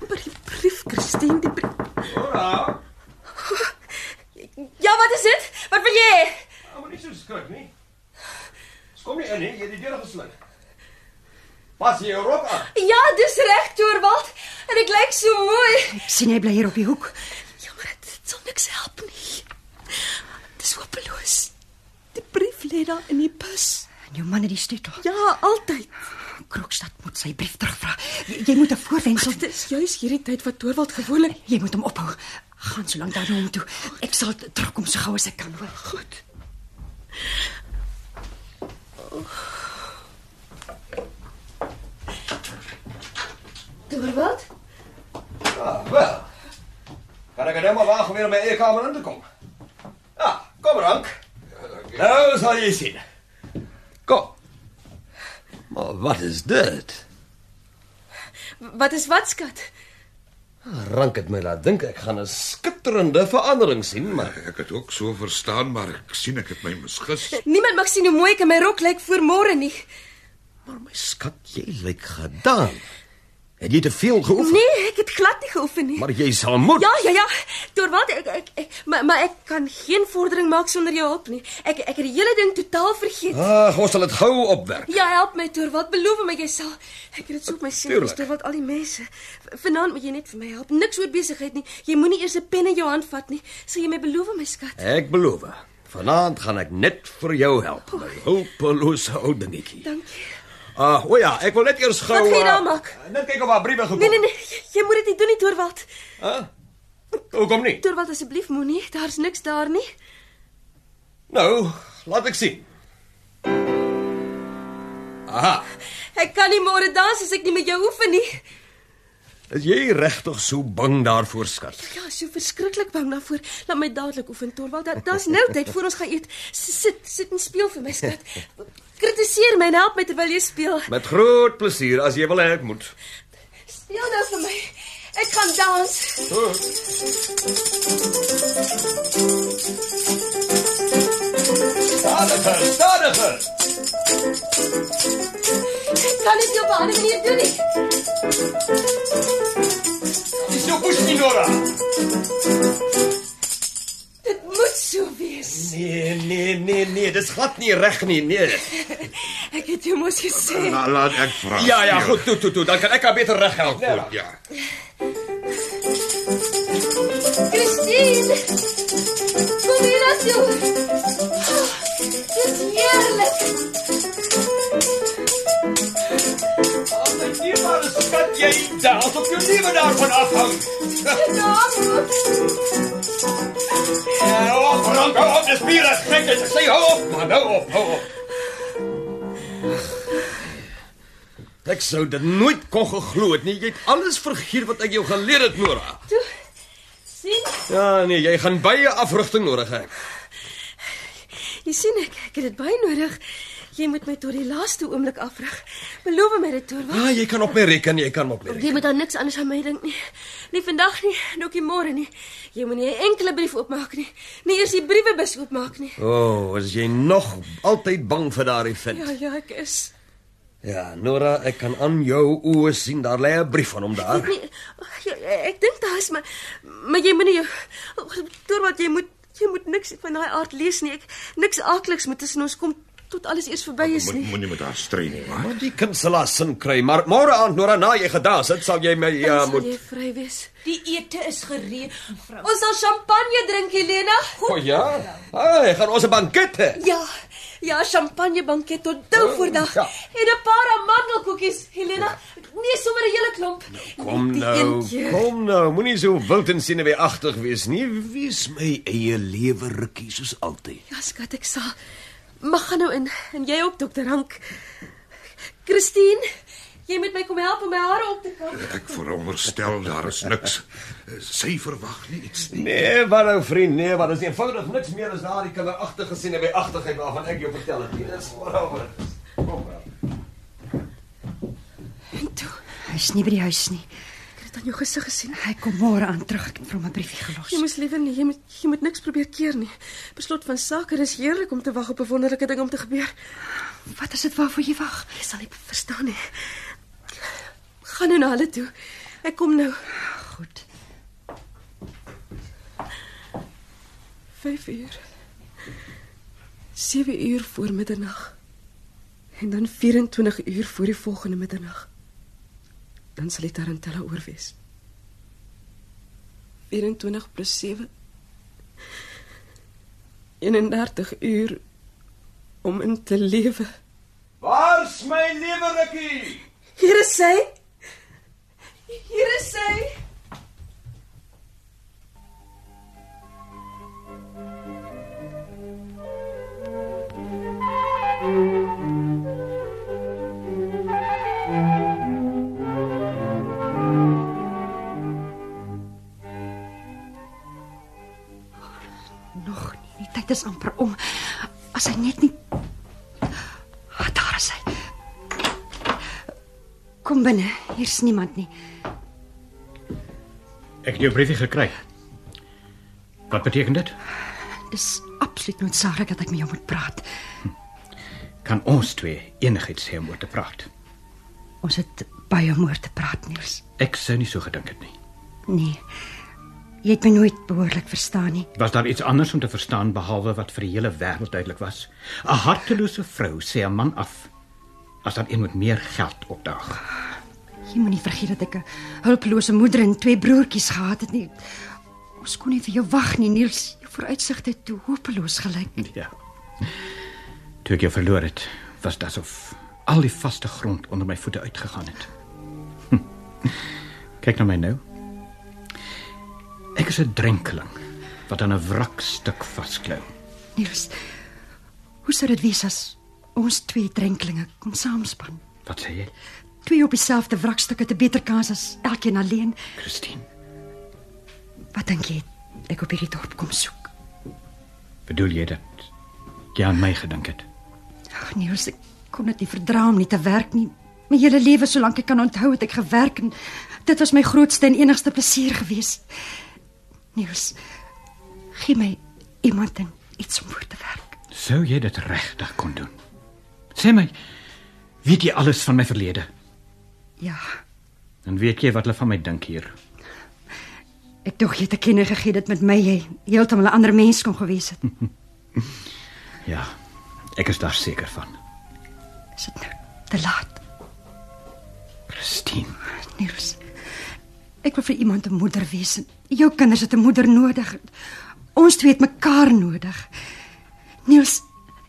maar die brief, Christine, die brief. Nora, Ja, wat is dit? Wat wil jy? hê? Oh, maar nie so skrik nie. Kom nie in nie, jy het die deur gesluit. Pas jy jou rok aan. Ja, dis reg, Torvald. En ek lyk so mooi. sien jy bly hier op die hoek? Jammer, dit Ja, dit sal niks help nie. Dis hopeloos. Die brief lê daar in die bus. En jou man het die sleutel. Ja, altyd. Krokstad moet sy brief terugvra. Jy, jy moet 'n voorwendsel. Dit is juis hierdie tyd wat Torvald gewoonlik Jy moet hom ophou. Gaan so lank daar na hom toe. Ek sal terugkom so gou as ek kan, hoor. Goed. Torvald? Ah, wel. Kan ek net maar wag om weer in my eie kamer in te kom. Ja, kom rank. Nou sal jy sien. Kom. Maar wat is dit? Wat is wat, skat? Ah, Rank het my laat dink ek gaan 'n skitterende verandering sien, maar Ek het ook so verstaan, maar ek sien ek het my misgis. Niemand mag sien hoe mooi ek in my rok lyk voor môre nie. maar my skat, jy lyk gedaan. Het jy te veel geoefen? Nee, ek het glad nie geoefen nie. Maar jy sal moet. Ja, ja, ja. Torvald, ek, ek, ek maar maar ek kan geen vordering maak sonder jou hulp nie. Ek ek het die hele ding totaal vergeet. Ag, ons sal dit gou opwerk. Ja, help my Torvald, beloof my jy sal. Ek het dit so op my seun Tuurlik. gestoor wat al die mense. V- Vanaand moet jy net vir my help. Niks oor besigheid nie. Jy moenie eers 'n pen in jou hand vat nie. Sal jy my beloof, my skat? Ek beloof. Vanaand gaan ek net vir jou help. My hulpelose ou dingetjie. Dankie. Ah, o ja, ek wil net eers gou Wat ga jy daar eh, maak? Net kyk of haar briewe gekom. Nee nee nee, jy, jy moet dit nie doen nie, Torvald. Hoekom nie? Torvald asseblief moenie. Daar's niks daar nie. Nou, laat ek sien. Aha, Ek kan nie môre dans as ek nie met jou oefen nie. is jy regtig so bang daarvoor, skat? Ja, so verskriklik bang daarvoor. Laat my dadelik oefen, Torvald. Dat daar's nou tyd voor ons gaan eet. S- Sit, sit en speel vir my skat. Kritiseer my en help my terwyl jy speel. Met groot plesier as jy wil hê ek moet. Speel nou vir my. Ek gaan dans. Stadiger, stadiger. Ek kan dit nie op 'n ander manier doen nie. Dis jou push nie, Nora. Dit moet so wees. Nee, nee, nee, nee, dis glad nie reg nie. Nee. Ek het jou mos gesê. La, laat ek vra. Ja, ja, goed, toe, toe, toe. Dan kan ek haar beter reg help. Nee, Ja. Christine. Kom hier asseblief. Oh, Dis heerlik. Al my dierbare skat, jy daar, asof jou lewe daarvan afhang. Nou, Ja, hou op, Frank, hou op, dis bier as gek is. Ek sê hou op, maar nou op, hou op. Ek sou dit nooit kon geglo het nie. Jy het alles vergeet wat ek jou geleer het, Nora. toe. sien? Ja, nee, jy gaan baie afrigting nodig hê. Jy sien ek, ek het dit baie nodig. Jy moet my tot die laaste oomblik afrig. Beloof my dit, Torvald. Ja, Ah, jy kan op my reken, jy kan op my reken. Jy moet aan niks anders aan my dink nie. Nie vandag nie, en ook nie môre nie. Jy moenie 'n enkele brief oopmaak nie. Nie eers die briewebus oopmaak nie. O, oh, is jy nog altyd bang vir daardie vent? Ja, ja, ek is. Ja, Nora, ek kan aan jou oë sien daar lê 'n brief van hom daar. Nee, ag, ja, ek dink daar is maar maar jy moenie jou Torvald, jy moet jy moet niks van daai aard lees nie. Ek niks aakliks moet tussen ons kom tot alles eers verby is Moet nie. moenie met haar strei nie, maar. Maar die kind sal haar sin kry, maar môre aand Nora na jy gedaas het, sal jy my Dan ja sal moet. jy vry wees. Die ete is gereed, mevrou. Ons sal champagne drink, Helena. O oh, ja. Ai, gaan ons 'n banket hê. Ja, ja, champagnebanket tot dou voor dag. ja. En 'n paar amandelkoekies, Helena. Nee, sommer 'n hele klomp. Kom Die nou, eentjie. kom nou, moenie so wild en senuweeagtig wees nie. Wees my eie lewe rukkie soos altyd. Ja, skat, ek sal. Mag gaan nou in en jy ook dokter Hank. Christine, jy moet my kom help om my hare op te kam. Ek veronderstel daar is niks. Eh, Sy verwag nie iets nie. Nee, maar nou vriend, nee, maar dis eenvoudig niks meer as daardie kinderagtige senuweeagtigheid waarvan ek jou vertel het. Dit is waaroor. Kom maar. En toe, Hy's nie by die huis nie. ek het dit aan jou gesig gesien. Hy kom môre aan terug. Ek het vir hom 'n briefie gelos. Jy moes liewer nie, jy moet jy moet niks probeer keer nie. Beslot van sake, dis heerlik om te wag op 'n wonderlike ding om te gebeur. Wat is dit waarvoor jy wag? Jy sal nie verstaan nie. Gaan nou na hulle toe. Ek kom nou. Goed. 5 uur. 7 uur voor middernag. En dan 24 uur voor die volgende middernag. Dan sal die tarantella oor wees. 24 plus 7. 31 uur om in te lewe. Waar's my lewerikkie? Hier is sy. Hier is sy. Nog nie. Die tyd is amper om. As hy net nie Ah, Daar is hy. Kom binne. Hier's niemand nie. Ek het jou briefie gekry. Wat beteken dit? Dis absoluut noodsaaklik dat ek met jou moet praat. Kan ons twee enigiets hê om oor te praat? Ons het baie om oor te praat, Niels. Ek sou nie so gedink het nie. Nee. Jy het my nooit behoorlik verstaan nie. Was daar iets anders om te verstaan behalwe wat vir die hele wêreld duidelik was? 'n Hartelose vrou sê 'n man af as daar een met meer geld opdaag. Jy moenie vergeet dat ek 'n hulpelose moeder en twee broertjies gehad het nie. Ons kon nie vir jou wag nie, Niels. Jou vooruitsigte het toe hopeloos gelyk. Ja. Toe ek jou verloor het, was dit asof al die vaste grond onder my voete uitgegaan het. Hm. Kyk na my nou. Ek is 'n drenkeling wat aan 'n wrakstuk vasklou. Niels. Hoe sou dit wees as ons twee drenkelinge kon saamspan? Wat sê jy, Twee op dieselfde wrakstukke te beter kans as elkeen alleen. Christine? Wat dink jy? het Ek op hierdie dorp kom soek. Bedoel jy dat jy aan my gedink het? Ag Niels, ek kon dit nie verdra om nie te werk nie. My hele lewe solank ek kan onthou het ek gewerk en dit was my grootste en enigste plesier gewees. Niels, gee my iemand en iets om voor te werk. Sou jy dit regtig kon doen? Sê my, weet jy alles van my verlede? Ja, En weet jy wat hulle van my dink hier? ek dog jy het te kenne gegee dat met my jy heeltemal 'n ander mens kon gewees het. Ja, ek is daar seker van. Is dit nou te laat, Christine, Niels? Ek wil vir iemand 'n moeder wees. en Jou kinders het 'n moeder nodig. Ons twee het mekaar nodig. Niels,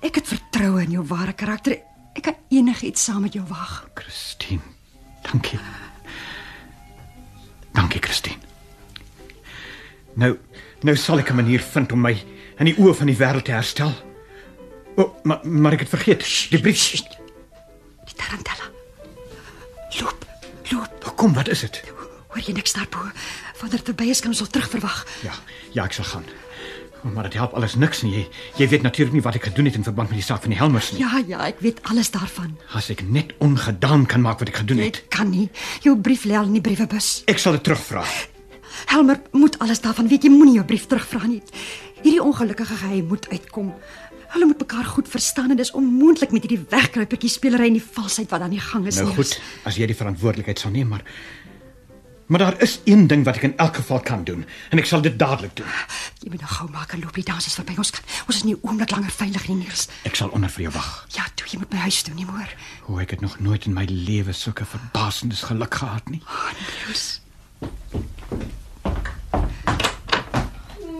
ek het vertroue in jou ware karakter. Ek kan enigiets saam met jou wag. Christine. Dankie. Dankie, Christine. Nou, nou sal ek 'n manier vind om my in die oë van die wêreld te herstel. O, oh, maar maar ek het vergeet. Sst, Die brief. Sst. Die tarantella. Loop, loop. Kom, wat is dit? Hoor jy niks daarbo? Wanneer dit verby is, kan ons al terug verwag. Ja, ja, ek sal gaan. Oh, maar dit help alles niks nie. Jy, jy weet natuurlik nie wat ek gedoen het in verband met die saak van die Helmers nie. Ja, ja, ek weet alles daarvan. As ek net ongedaan kan maak wat ek gedoen Jy het. kan nie. Jou brief lê al in die briewebus. Ek sal dit terugvra. Helmer moet alles daarvan weet. Jy moenie jou brief terugvra nie. Hierdie ongelukkige geheim moet uitkom. Hulle moet mekaar goed verstaan en dis onmoontlik met hierdie wegkruipertjie spelery en die valsheid wat aan die gang is. Nou Niels. goed, as jy die verantwoordelikheid sal neem, maar maar daar is een ding wat ek in elk geval kan doen en ek sal dit dadelik doen. Jy moet nou gou maak en loop die dansies verby ons kan. Ons is nie 'n oomblik langer veilig nie, Niels. Ek sal onder vir jou wag. Ja, toe jy moet by huis toe, nie hoor. Hoe ek het nog nooit in my lewe sulke verbasendes geluk gehad nie. Niels.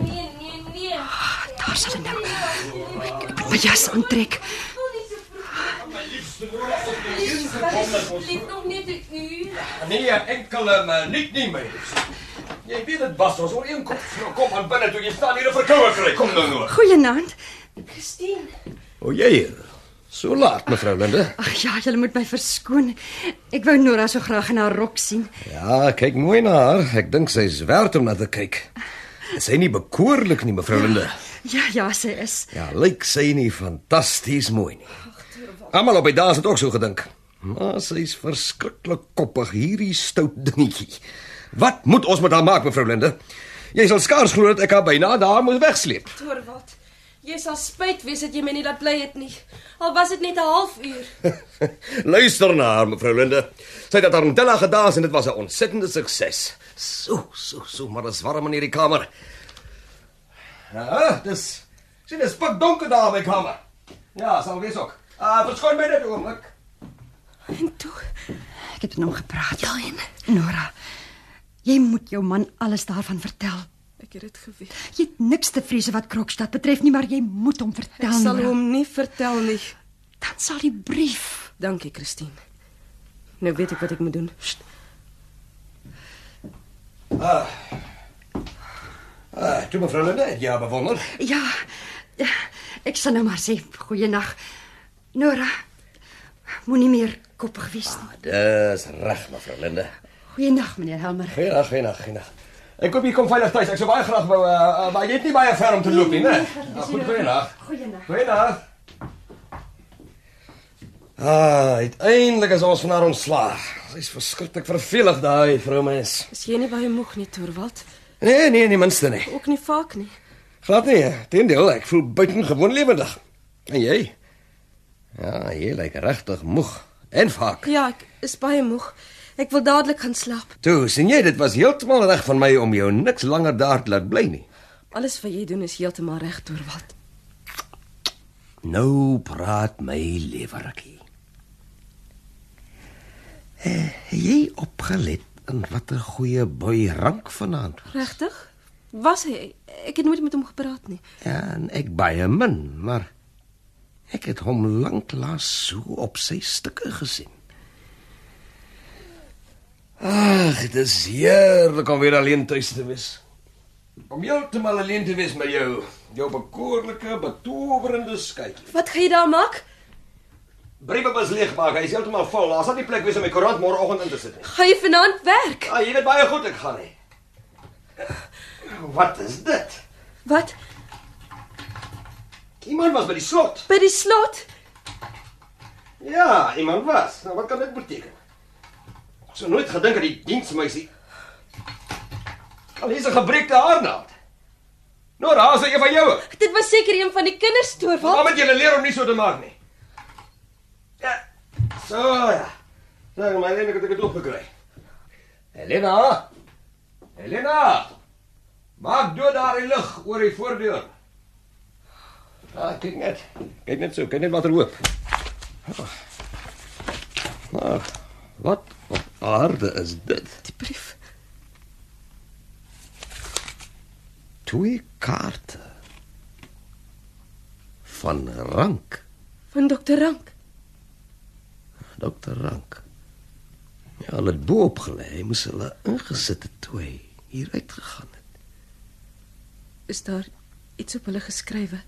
Nee, nee, nee. Daar sal hy nou. Oh O, Ek, ek moet my jas aantrek. Lief nog net 'n uur. Nee, enkele eh, minuut nie my. Jy weet dit was ons ooreenkoms. Nou kom aan binne toe jy staan hier 'n verkoue kry. Kom nou nou. Goeienaand. Christine, O jy hier. So laat mevrou Linde. Ag ja, jy moet my verskoon. Ek wou Nora so graag in haar rok sien. Ja, kyk mooi na haar. Ek dink sy's werd om na te kyk. Is sy nie bekoorlik nie mevrou Linde? Ja, ja, sy is. Ja, lyk sy nie fantasties mooi nie. Almal op die daas het ook so gedink. Maar sy's verskriklik koppig hierdie stout dingetjie. Wat moet ons met haar maak mevrou Linde? Jy sal skaars glo dat ek haar byna daar moet wegsleep. Torwald. Jy sal spyt wees dat jy my nie laat bly het nie. Al was dit net 'n halfuur. Luister na haar, mevrou Linde. Sy het dat Armadilla gedans en dit was 'n ontsettende sukses. So, so, so, maar dit is warm in hierdie kamer. Ja, dis sien dit is pikdonker daar in my kamer. Ja, sal wees ook. Ah, verskoon my net 'n oomblik. En toe, Ek het met hom gepraat. Jolien, Nora, jy moet jou man alles daarvan vertel. ek het dit geweet. Jy het niks te vrees wat Krokstad betref nie, maar jy moet hom vertel. Ek sal Nora. hom nie vertel nie. dan sal die brief. Dankie, Christine. Nou weet ek wat ek moet doen. Sst. Ah, toe mevrou Linde, ja, bewonder. Ja. eh, Ek sal nou maar sê goeienag. Nora. Moenie meer koppig wees nie. Dis reg, mevrou Linde. Goeienag meneer Helmer. Goeiedag, goeiedag, goeiedag. Ek hoop jy kom veilig tuis. Ek sou baie graag wou, uh, maar jy het nie baie ver om te loop nie, né? Ja, nou. goed, goeiedag. Goeiedag. Goeiedag. Ah, uiteindelik is ons van haar ontslaag. Sy's verskriklik vervelig daai vroumens. Is jy nie baie moeg nie, Torwald? Nee, nee, nie minste nie. Ook nie vaak nie. Glad nie. Teendeel, ek voel buitengewoon lewendig. En jy? Ja, jy lyk regtig moeg en vaak. Ja, ek is baie moeg. Ek wil dadelik gaan slaap. Toe, sien jy, dit was heeltemal reg van my om jou niks langer daar te laat bly nie. Alles wat jy doen is heeltemal reg, Torwald. Nou praat my lewerkie. Eh, jy opgelet in watter goeie boy rank vanaand. Regtig? Was hy? Ek het nooit met hom gepraat nie. Ja, en ek baie min, maar ek het hom lank laas so op sy stukke gesien. Ag, dit is heerlik om weer alleen tuis te wees. Om heeltemal alleen te wees met jou, jou bekoorlike, betowerende skykie. Wat gaan jy daar maak? Briewe was leeg maak, hy is heeltemal vol. Daar's net nie plek wees om my koerant môreoggend in te sit nie. Gaan jy vanaand werk? Ah, jy weet baie goed ek gaan nie. Wat is dit? Wat? Iemand was by die slot. By die slot? Ja, iemand was. Nou wat kan dit beteken? Ek sou nooit gedink dat die diensmeisie al is er 'n gebreekte haarnaald. Nou, daar is een van jou. Dit was seker een van die kinders, Wat Torwald. moet julle leer om nie so te maak nie? Ja. So ja. Nou, maar Helena het ek dit opgekry. Helena. Helena. Maak dood daar die lig oor die voordeur. Ah, kyk net. Kyk net so, kyk net wat er loop. Maar Ah, wat op aarde is dit? Die brief. Twee kaarte van rank. Van dokter Rank. Dokter Rank. Ja, hulle het bo opgelê. Hy moes hulle ingesit het toe hy hier uitgegaan het. Is daar iets op hulle geskrywe?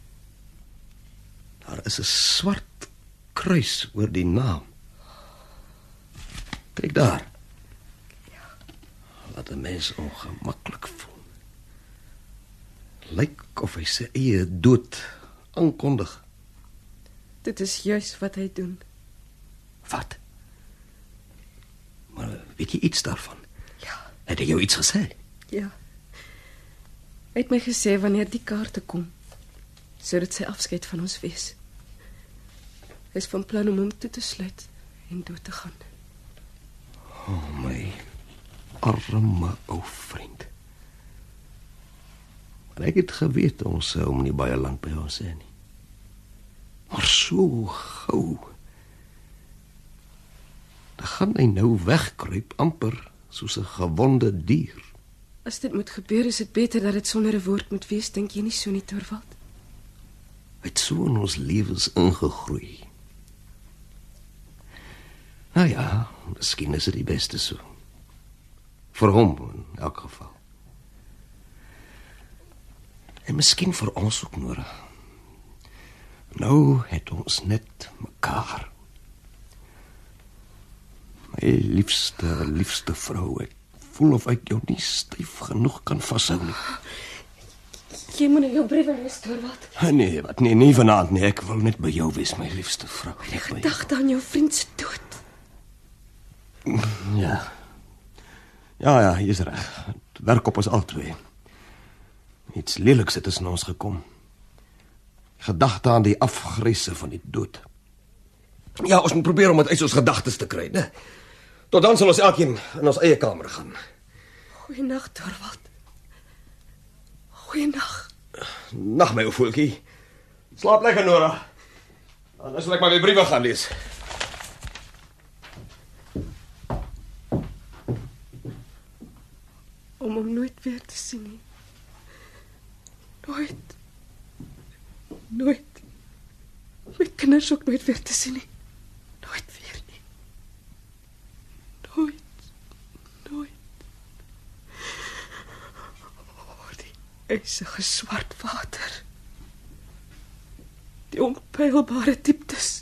Daar is 'n swart kruis oor die naam. Kyk daar. Laat 'n mens ongemaklik voel. Lyk of hy sy eie dood aankondig. Dit is juis wat hy doen. Wat? Maar weet jy iets daarvan? Ja. Het hy jou iets gesê? Ja. Hy het my gesê wanneer die kaarte kom, sodat sy afskeid van ons wees. Hy is van plan om hom toe te sluit en dood te gaan. my arme ou vriend. Maar ek het geweet ons sou hom nie baie lank by ons hê nie. Maar so gou. Dan gaan hy nou wegkruip amper soos 'n gewonde dier. As dit moet gebeur, is dit beter dat dit sonder 'n woord moet wees, dink jy nie so nie, Torvald? Hy het so in ons lewens ingegroei. Nou ja, miskien is dit die beste so. Vir hom in elk geval. En miskien vir ons ook Nora. Nou het ons net mekaar. My liefste, liefste vrou, ek voel of ek jou nie styf genoeg kan vashou nie. Jy moet jou briewe lees, Torvald. Nee, wat nee, nie vanaand nie. Ek wil net by jou wees, my liefste vrou. Net by jou. Gedagte aan jou vriend se dood. Ja. Ja, ja, jy's reg. Dit werk op ons albei. Iets leliks het tussen ons gekom. Gedagte aan die afgryse van die dood. Ja, ons moet probeer om dit uit ons gedagtes te kry, né? Tot dan sal ons elkeen in ons eie kamer gaan. Goeienaand, Torvald. Goeienaand. Nag my ou voeltjie. Slaap lekker Nora. Dan sal ek maar weer briewe gaan lees. Om hom nooit weer te sien nie. Nooit. Nooit. My kinders ook nooit weer te sien nie. Nooit weer nie. Nooit. Nooit. Oh, die ysige swart water. Die onpeilbare dieptes.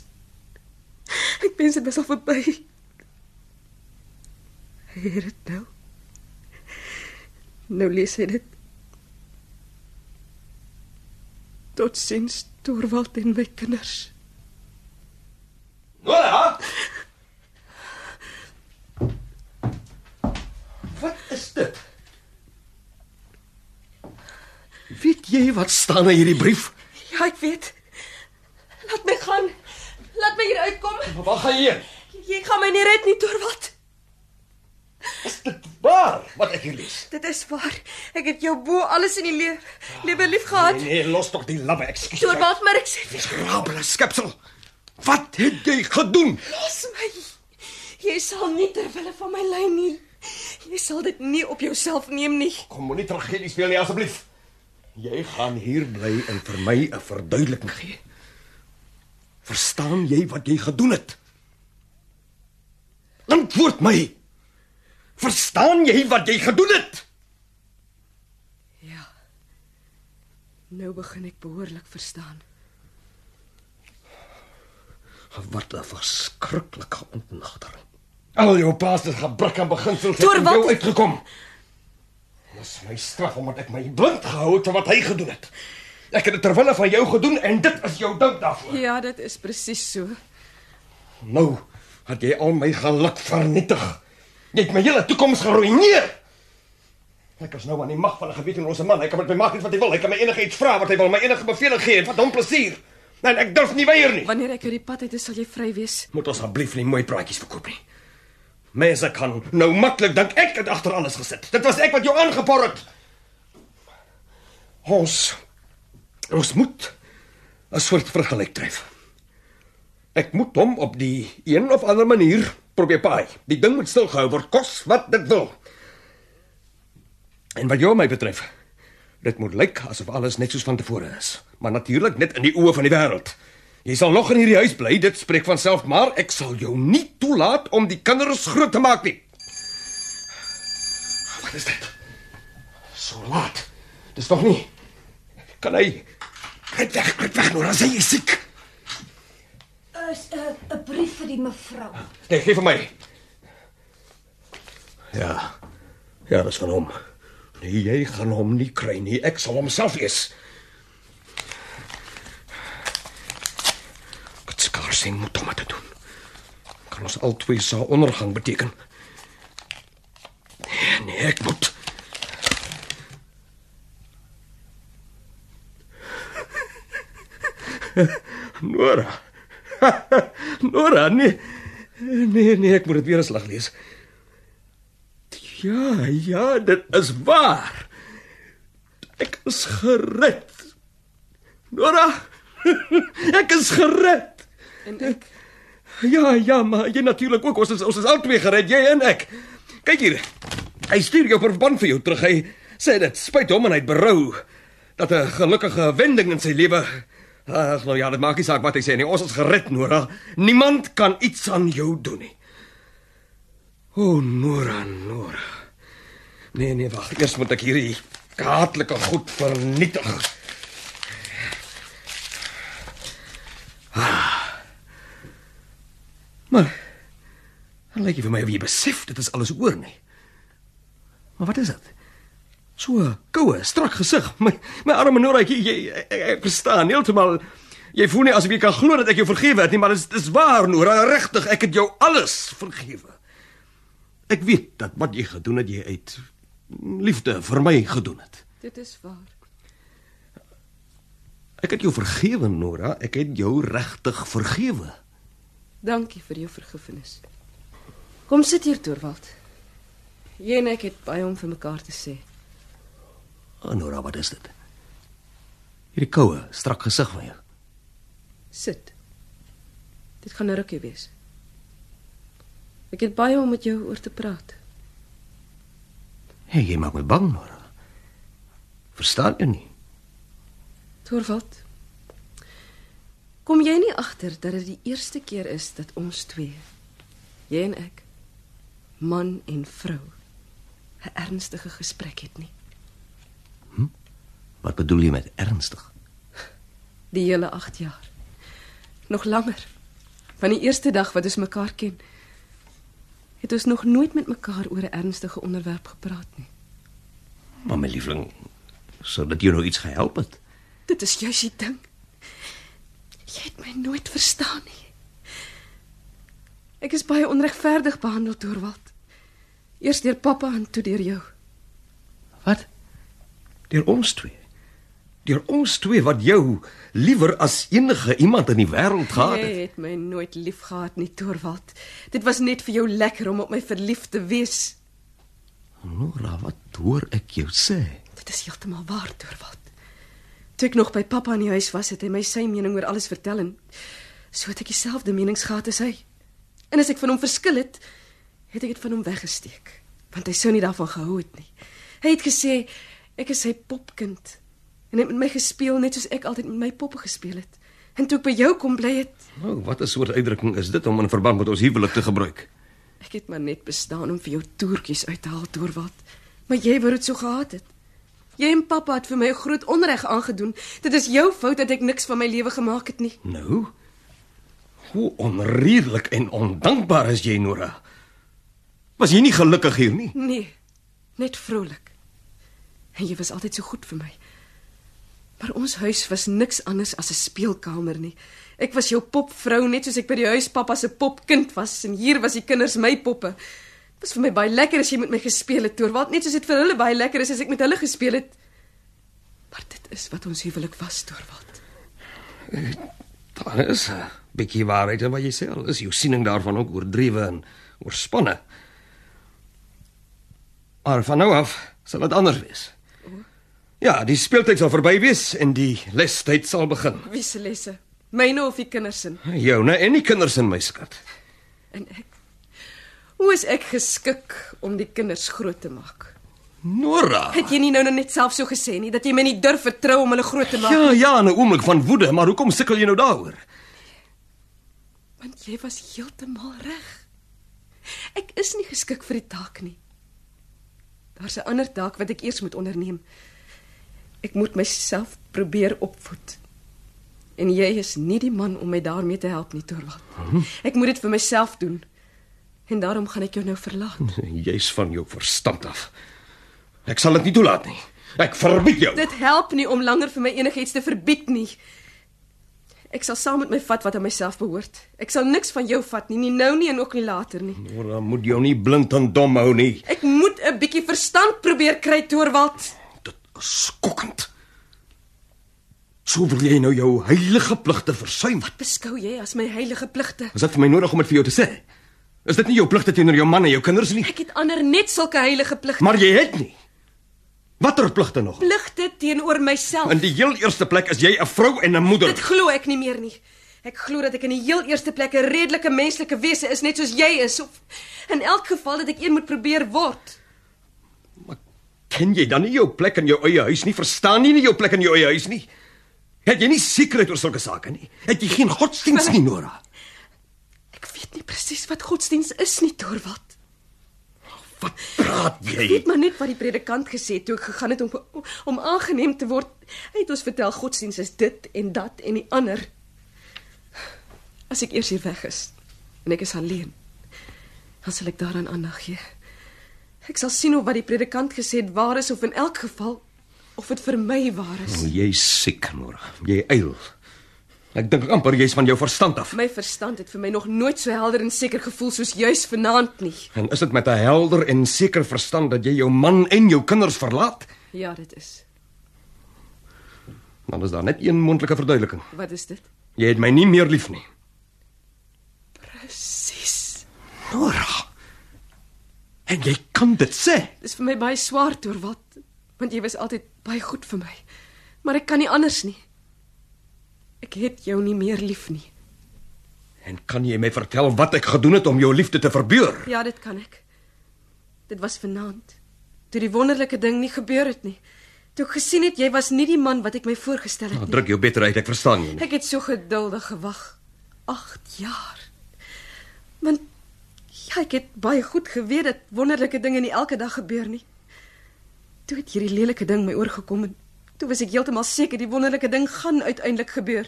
Ek wens dit was al verby. Hy het dit nou. Nou lees hy dit. Tot sins Torvald en my kinders. Nora! Wat is dit? Weet jy wat staan in hierdie brief? Ja, ek weet. Laat my gaan. Laat my hier uitkom. Waar gaan jy heen? Jy gaan my nie red nie, Torvald. Is dit waar wat ek hier lees? Dit is waar. Ek het jou bo alles in die lewe lewe lief gehad. Nee, los tog die labbe ekskuus. Torvald, maar ek sê vir Rabele skepsel. Wat het jy gedoen? jou, los my. Jy sal nie ter wille van my ly nie. Jy sal dit nie op jouself neem nie. Kom moenie tragedie speel nie asseblief. Jy gaan hier bly en vir my 'n verduideliking gee. Verstaan jy wat jy gedoen het? Antwoord my. Verstaan jy wat jy gedoen het? Ja. Nou begin ek behoorlik verstaan. Wat 'n verskriklike ontnagtering. Al jou paas het gebrek aan beginsels het Door in wat- jou uitgekom. Dis my straf omdat ek my blind gehou het vir wat hy gedoen het. Ek het dit ter wille van jou gedoen en dit is jou dank daarvoor. Ja, dit is presies so. Nou het jy al my geluk vernietig. Jy het my hele toekoms geruïneer. Ek is nou aan die mag van 'n gewetenlose man. Hy kan met my maak net wat hy wil. Hy kan my enige iets vra wat hy wil, my enige beveling gee, wat hom plesier. En ek durf nie weier nie. Wanneer ek uit die pad uit is, sal jy vry wees. Moet ons asseblief nie mooi praatjies verkoop nie. Mense kan nou maklik dink ek het agter alles gesit. Dit was ek wat jou aangepor het. Ons ons moet 'n soort vergelyk tref. Ek moet hom op die een of ander manier probeer paai. Die ding moet stilgehou word kos wat dit wil. En wat jou my betref, dit moet lyk asof alles net soos van tevore is, maar natuurlik net in die oë van die wêreld. Jy sal nog in hierdie huis bly, dit spreek van self, maar ek sal jou nie toelaat om die kinders groot te maak nie. Wat is dit? So laat. Dis nog nie. Kan hy Kruip weg, kruip weg, Nora, sy is siek. Is 'n 'n brief vir die mevrou. Nee, gee vir my. Ja. Ja, dis van hom. Nee, jy gaan hom nie kry nie. Ek sal homself ees. Wat skaars hy moet om dit doen. Kan ons albei se ondergang beteken? Nee, nee, ek moet. Nora. Nora, nee. Nee, nee, ek moet dit weer eens lag lees. Ja, ja, dit is waar. Ek is gered. Nora, ek is gered. En ek Ja, ja, maar jy natuurlik ook. Ons is ons is albei gered, jy en ek. Kyk hier. Hy stuur jou verband vir jou terug. Hy sê dit spyt hom en hy het berou dat 'n gelukkige wending in sy lewe Ag nou ja, dit maak nie saak wat hy sê nie. Ons is gered, Nora. Niemand kan iets aan jou doen nie. O, oh, Nora, Nora. Nee, nee, wag. Eers moet ek hierdie haatlike goed vernietig. Maar dan lyk jy vir my of jy besef dit is alles oor nie. Maar wat is dit? So 'n koue, strak gesig. My my arme Noraatjie, jy ek, ek, ek verstaan heeltemal. Jy voel nie asof jy kan glo dat ek jou vergewe het nie, maar dis dis waar Nora, regtig, ek het jou alles vergewe. Ek weet dat wat jy gedoen het, jy uit liefde vir my gedoen het. dit is waar. Ek het jou vergewe, Nora. Ek het jou regtig vergewe. Dankie vir jou vergifnis. Kom sit hier, Torvald. Jy en ek het baie om vir mekaar te sê. Oh, Nora, wat is dit? Hierdie koue, strak gesig van jou. Sit. Dit gaan 'n rukkie wees. Ek het baie om met jou oor te praat. Hey, jy maak my bang, Nora. Verstaan jy nie? Torvald. Kom jy nie agter dat dit die eerste keer is dat ons twee, jy en ek, man en vrou, 'n ernstige gesprek het nie. Wat bedoel jy met ernstig? Die hele 8 jaar. Nog langer. Van die eerste dag wat ons mekaar ken, het ons nog nooit met mekaar oor 'n ernstige onderwerp gepraat nie. Maar my liefling, sou dit jou nou iets gehelp het? Dit is juis die ding. Jy het my nooit verstaan nie. Ek is baie onregverdig behandel, Torvald. Eers deur pappa en toe deur jou. Wat? Deur ons twee. Deur ons twee wat jou liewer as enige iemand in die wêreld gehad Jy het. het my nooit liefgehad nie, Torvald. Dit was net vir jou lekker om op my verlief te wees. Nora, wat hoor ek jou sê? Dit is heeltemal waar, Torvald. Toe ek nog by pappa in die huis was, het hy my sy mening oor alles vertel en so het ek dieselfde menings gehad as hy. En as ek van hom verskil het, het ek dit van hom weggesteek, want hy sou nie daarvan gehou het nie. Hy het gesê ek is sy popkind en hy het met my gespeel net soos ek altyd met my poppe gespeel het. En toe ek by jou kom bly het, Nou, wat 'n soort uitdrukking is dit om in verband met ons huwelik te gebruik? ek het maar net bestaan om vir jou toertjies uit te haal, Torvald. Maar jy wou dit so gehad het. Jy en pappa het vir my 'n groot onreg aangedoen. Dit is jou fout dat ek niks van my lewe gemaak het nie. Nou, hoe onredelik en ondankbaar is jy, Nora. Was jy nie gelukkig hier nie? Nee, net vrolik. En jy was altyd so goed vir my. Maar ons huis was niks anders as 'n speelkamer nie. Ek was jou popvrou net soos ek by die huis pappa se popkind was en hier was die kinders my poppe. Dit was vir my baie lekker as jy met my gespeel het, Torvald, net soos dit vir hulle baie lekker is as ek met hulle gespeel het. Maar dit is wat ons huwelik was, Torvald. Daar is 'n bietjie waarheid in wat jy sê. Al is jou siening daarvan ook oordrewe en oorspanne. Maar van nou af sal dit anders wees. Ja, die speeltyd sal verby wees en die lestyd sal begin. Wie se lesse? Myne of die kinders se? Joune en die kinders in my skat. En ek Hoe is ek geskik om die kinders groot te maak? Nora. Het jy nie nou nou net self so gesê nie dat jy my nie durf vertrou om hulle groot te maak? Ja, ja, in 'n oomblik van woede, maar hoekom sukkel jy nou daaroor? Want jy was heeltemal reg. Ek is nie geskik vir die taak nie. Daar's 'n ander taak wat ek eers moet onderneem. Ek moet myself probeer opvoed. En jy is nie die man om my daarmee te help nie, Torvald. Ek moet dit vir myself doen. En daarom gaan ek jou nou verlaat. Jy's van jou verstand af. Ek sal dit nie toelaat nie. Ek verbied jou. Dit help nie om langer vir my enigiets te verbied nie. Ek sal saam met my vat wat aan myself behoort. Ek sal niks van jou vat nie, nie nou nie en ook nie later nie. Nora moet jou nie blind en dom hou nie. Ek moet 'n bietjie verstand probeer kry, Torwald. Dit is skokkend. Sou wil jy nou jou heilige pligte versuim? Wat Beskou jy as my heilige pligte? is dit vir my nodig om dit vir jou te sê? Is dit nie jou pligte teenoor jou man en jou kinders nie? Ek het ander net sulke heilige pligte. Maar jy het nie. Watter pligte nog? Pligte teenoor myself. In die heel eerste plek is jy 'n vrou en 'n moeder. Dit glo ek nie meer nie. Ek glo dat ek in die heel eerste plek 'n redelike menslike wese is, net soos jy is of in elk geval dat ek een moet probeer word. Ken jy dan nie jou plek in jou eie huis nie? Verstaan jy nie jou plek in jou eie huis nie? Het jy nie sekerheid oor sulke sake nie? Het jy geen godsdiens nie, Nora? Ek weet nie presies wat godsdiens is nie, Torwald. Wat praat jy? Weet maar net wat die predikant gesê het toe ek gegaan het om om aangeneem te word. Hy het ons vertel godsdiens is dit en dat en die ander. As ek eers hier weg is en ek is alleen, dan sal ek daaraan aandag gee. Ek sal sien of wat die predikant gesê het waar is of in elk geval of dit vir my waar is. Jy's siek, Nora. Jy eil. Ek dink amper jy's van jou verstand af. My verstand het vir my nog nooit so helder en seker gevoel soos juis vanaand nie. En is dit met 'n helder en seker verstand dat jy jou man en jou kinders verlaat? Ja, dit is. Dan is daar net een moontlike verduideliking. Wat is dit? Jy het my nie meer lief nie. Presies. Nora. En jy kan dit sê. Dis vir my baie swaar toe wat, want jy was altyd baie goed vir my. Maar ek kan nie anders nie. Ek het jou nie meer lief nie. En kan jy my vertel wat ek gedoen het om jou liefde te verbeur? Ja, dit kan ek. Dit was vanaand. Toe die wonderlike ding nie gebeur het nie. Toe ek gesien het jy was nie die man wat ek my voorgestel Nou, het nie. druk jou beter uit, ek verstaan jou nie. Ek het so geduldig gewag. 8 jaar. Want ja, ek het baie goed geweet dat wonderlike dinge nie elke dag gebeur nie. Toe het hierdie lelike ding my oorgekom en toe was ek heeltemal seker die wonderlike ding gaan uiteindelik gebeur.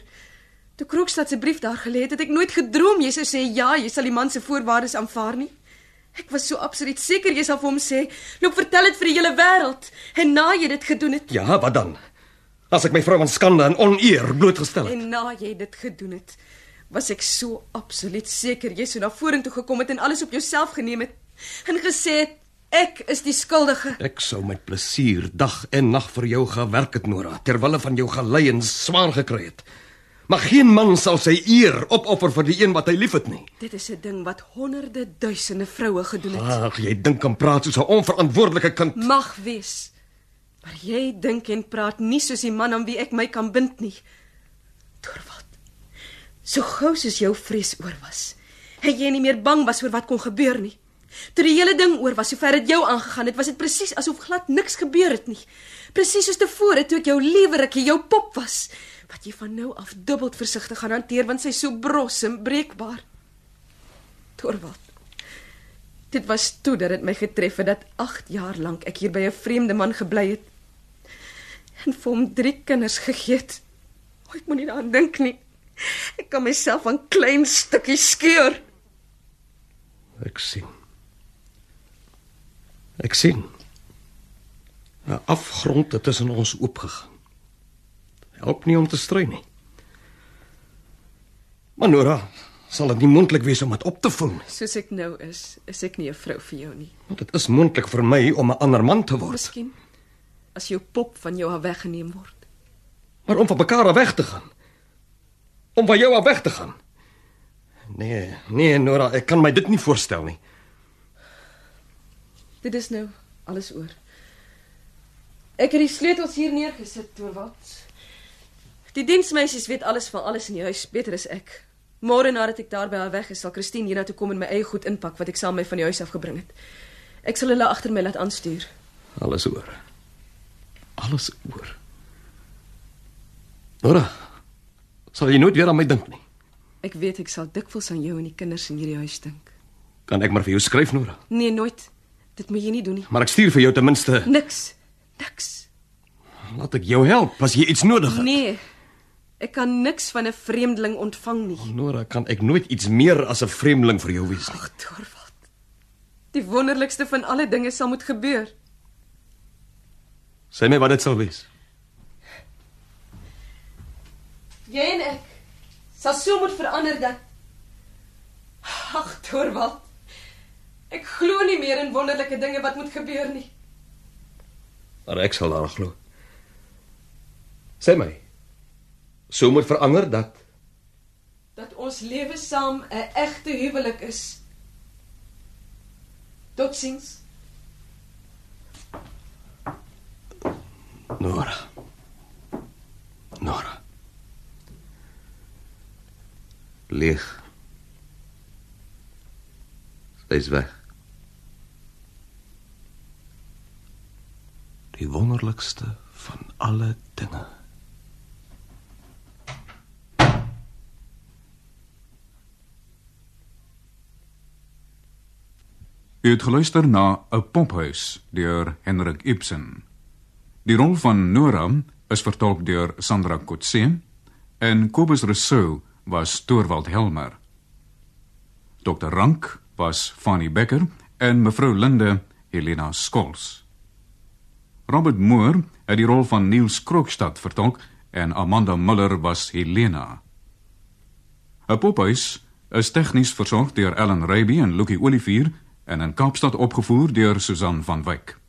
Toe Kroekstad se brief daar gelê het, het ek nooit gedroom jy sou sê ja, jy sal die man se voorwaardes aanvaar nie. Ek was so absoluut seker jy sal vir hom sê, "Loop vertel dit vir die hele wêreld." En na jy dit gedoen het, Ja, wat dan? As ek my vrou aan skande en oneer blootgestel het. En na jy dit gedoen het, was ek so absoluut seker jy sou na vorentoe gekom het en alles op jouself geneem het en gesê het ek is die skuldige. Ek sou met plesier dag en nag vir jou gewerk het, Nora, terwyl van jou gelei en swaar gekry het. Maar geen man sal sy eer opoffer vir die een wat hy liefhet nie. Dit is 'n ding wat honderde duisende vroue gedoen het. Ag, jy dink en praat soos 'n onverantwoordelike kind. Mag wees. Maar jy dink en praat nie soos die man aan wie ek my kan bind nie. Torvald. So gou soos jou vrees oor was, het jy nie meer bang was oor wat kon gebeur nie. Toe die hele ding oor was, sover dit jou aangegaan het, was dit presies asof glad niks gebeur het nie. Presies soos tevore toe ek jou lewerikkie, jou pop was, wat jy van nou af dubbel versigtig gaan hanteer want sy's so bros en breekbaar. Torvald. Dit was toe dat dit my getref het dat 8 jaar lank ek hier by 'n vreemde man gebly het en vir hom 3 kinders gegee het. O, ek moenie daaraan dink nie. Ek kan myself aan klein stukkies skeur. Ek sien. Ek sien. 'n Afgrond het tussen ons oopgegaan. Help nie om te strei nie. Maar Nora, sal dit nie moontlik wees om dit op te vang nie. Soos ek nou is, is ek nie 'n vrou vir jou nie. Want dit is moontlik vir my om 'n ander man te word, Miskien as jou pop van jou af weggeneem word. maar om van mekaar af weg te gaan. Om van jou af weg te gaan. Nee, nee Nora, ek kan my dit nie voorstel nie. Dit is nou alles oor. Ek het die sleutels hier neergesit, Torwald. Die diensmeisies weet alles van alles in die huis beter as ek. Môre nadat ek daar by haar weg is, sal Christine hiernatoe kom en my eie goed inpak wat ek saam met my van die huis af gebring het. Ek sal hulle agter my laat aanstuur. Alles oor. Alles oor. Nora, sal jy nooit weer aan my dink nie. Ek weet ek sal dikwels aan jou en die kinders in hierdie huis dink. Kan ek maar vir jou skryf, Nora? Nee, nooit. Dit moet jy nie doen nie. Maar ek stuur vir jou ten minste. Niks. Niks. Laat ek jou help as jy iets nodig het. Nee. Ek kan niks van 'n vreemdeling ontvang nie. Nora, kan ek nooit iets meer as 'n vreemdeling vir jou wees nie. Ag, Torvald. Die wonderlikste van alle dinge sal moet gebeur. Sê my wat dit sal wees. Jy en ek sal so moet verander dat Ag, Torvald. Ek glo nie meer in wonderlike dinge wat moet gebeur nie. Maar ek sal daaraan glo. Sê my. Sou moet verander dat Dat ons lewe saam 'n egte huwelik is. Totsiens. Nora. Nora. Leeg. Sy is weg. Die wonderlikste van alle dinge. U het geluister na 'n pophuis deur Henrik Ibsen. Die rol van Nora is vertolk deur Sandra Kotse en Kobus Rousseau was Torvald Helmer. Dr Rank was Fanny Becker en mevrou Linde Helena Skols. Robert Moore het die rol van Niels Krokstad vertolk en Amanda Muller was Helena. 'n Pophuis is tegnies versorg deur Ellen Raby en Lucky Olivier en in Kaapstad opgevoer deur Susan van Wyk.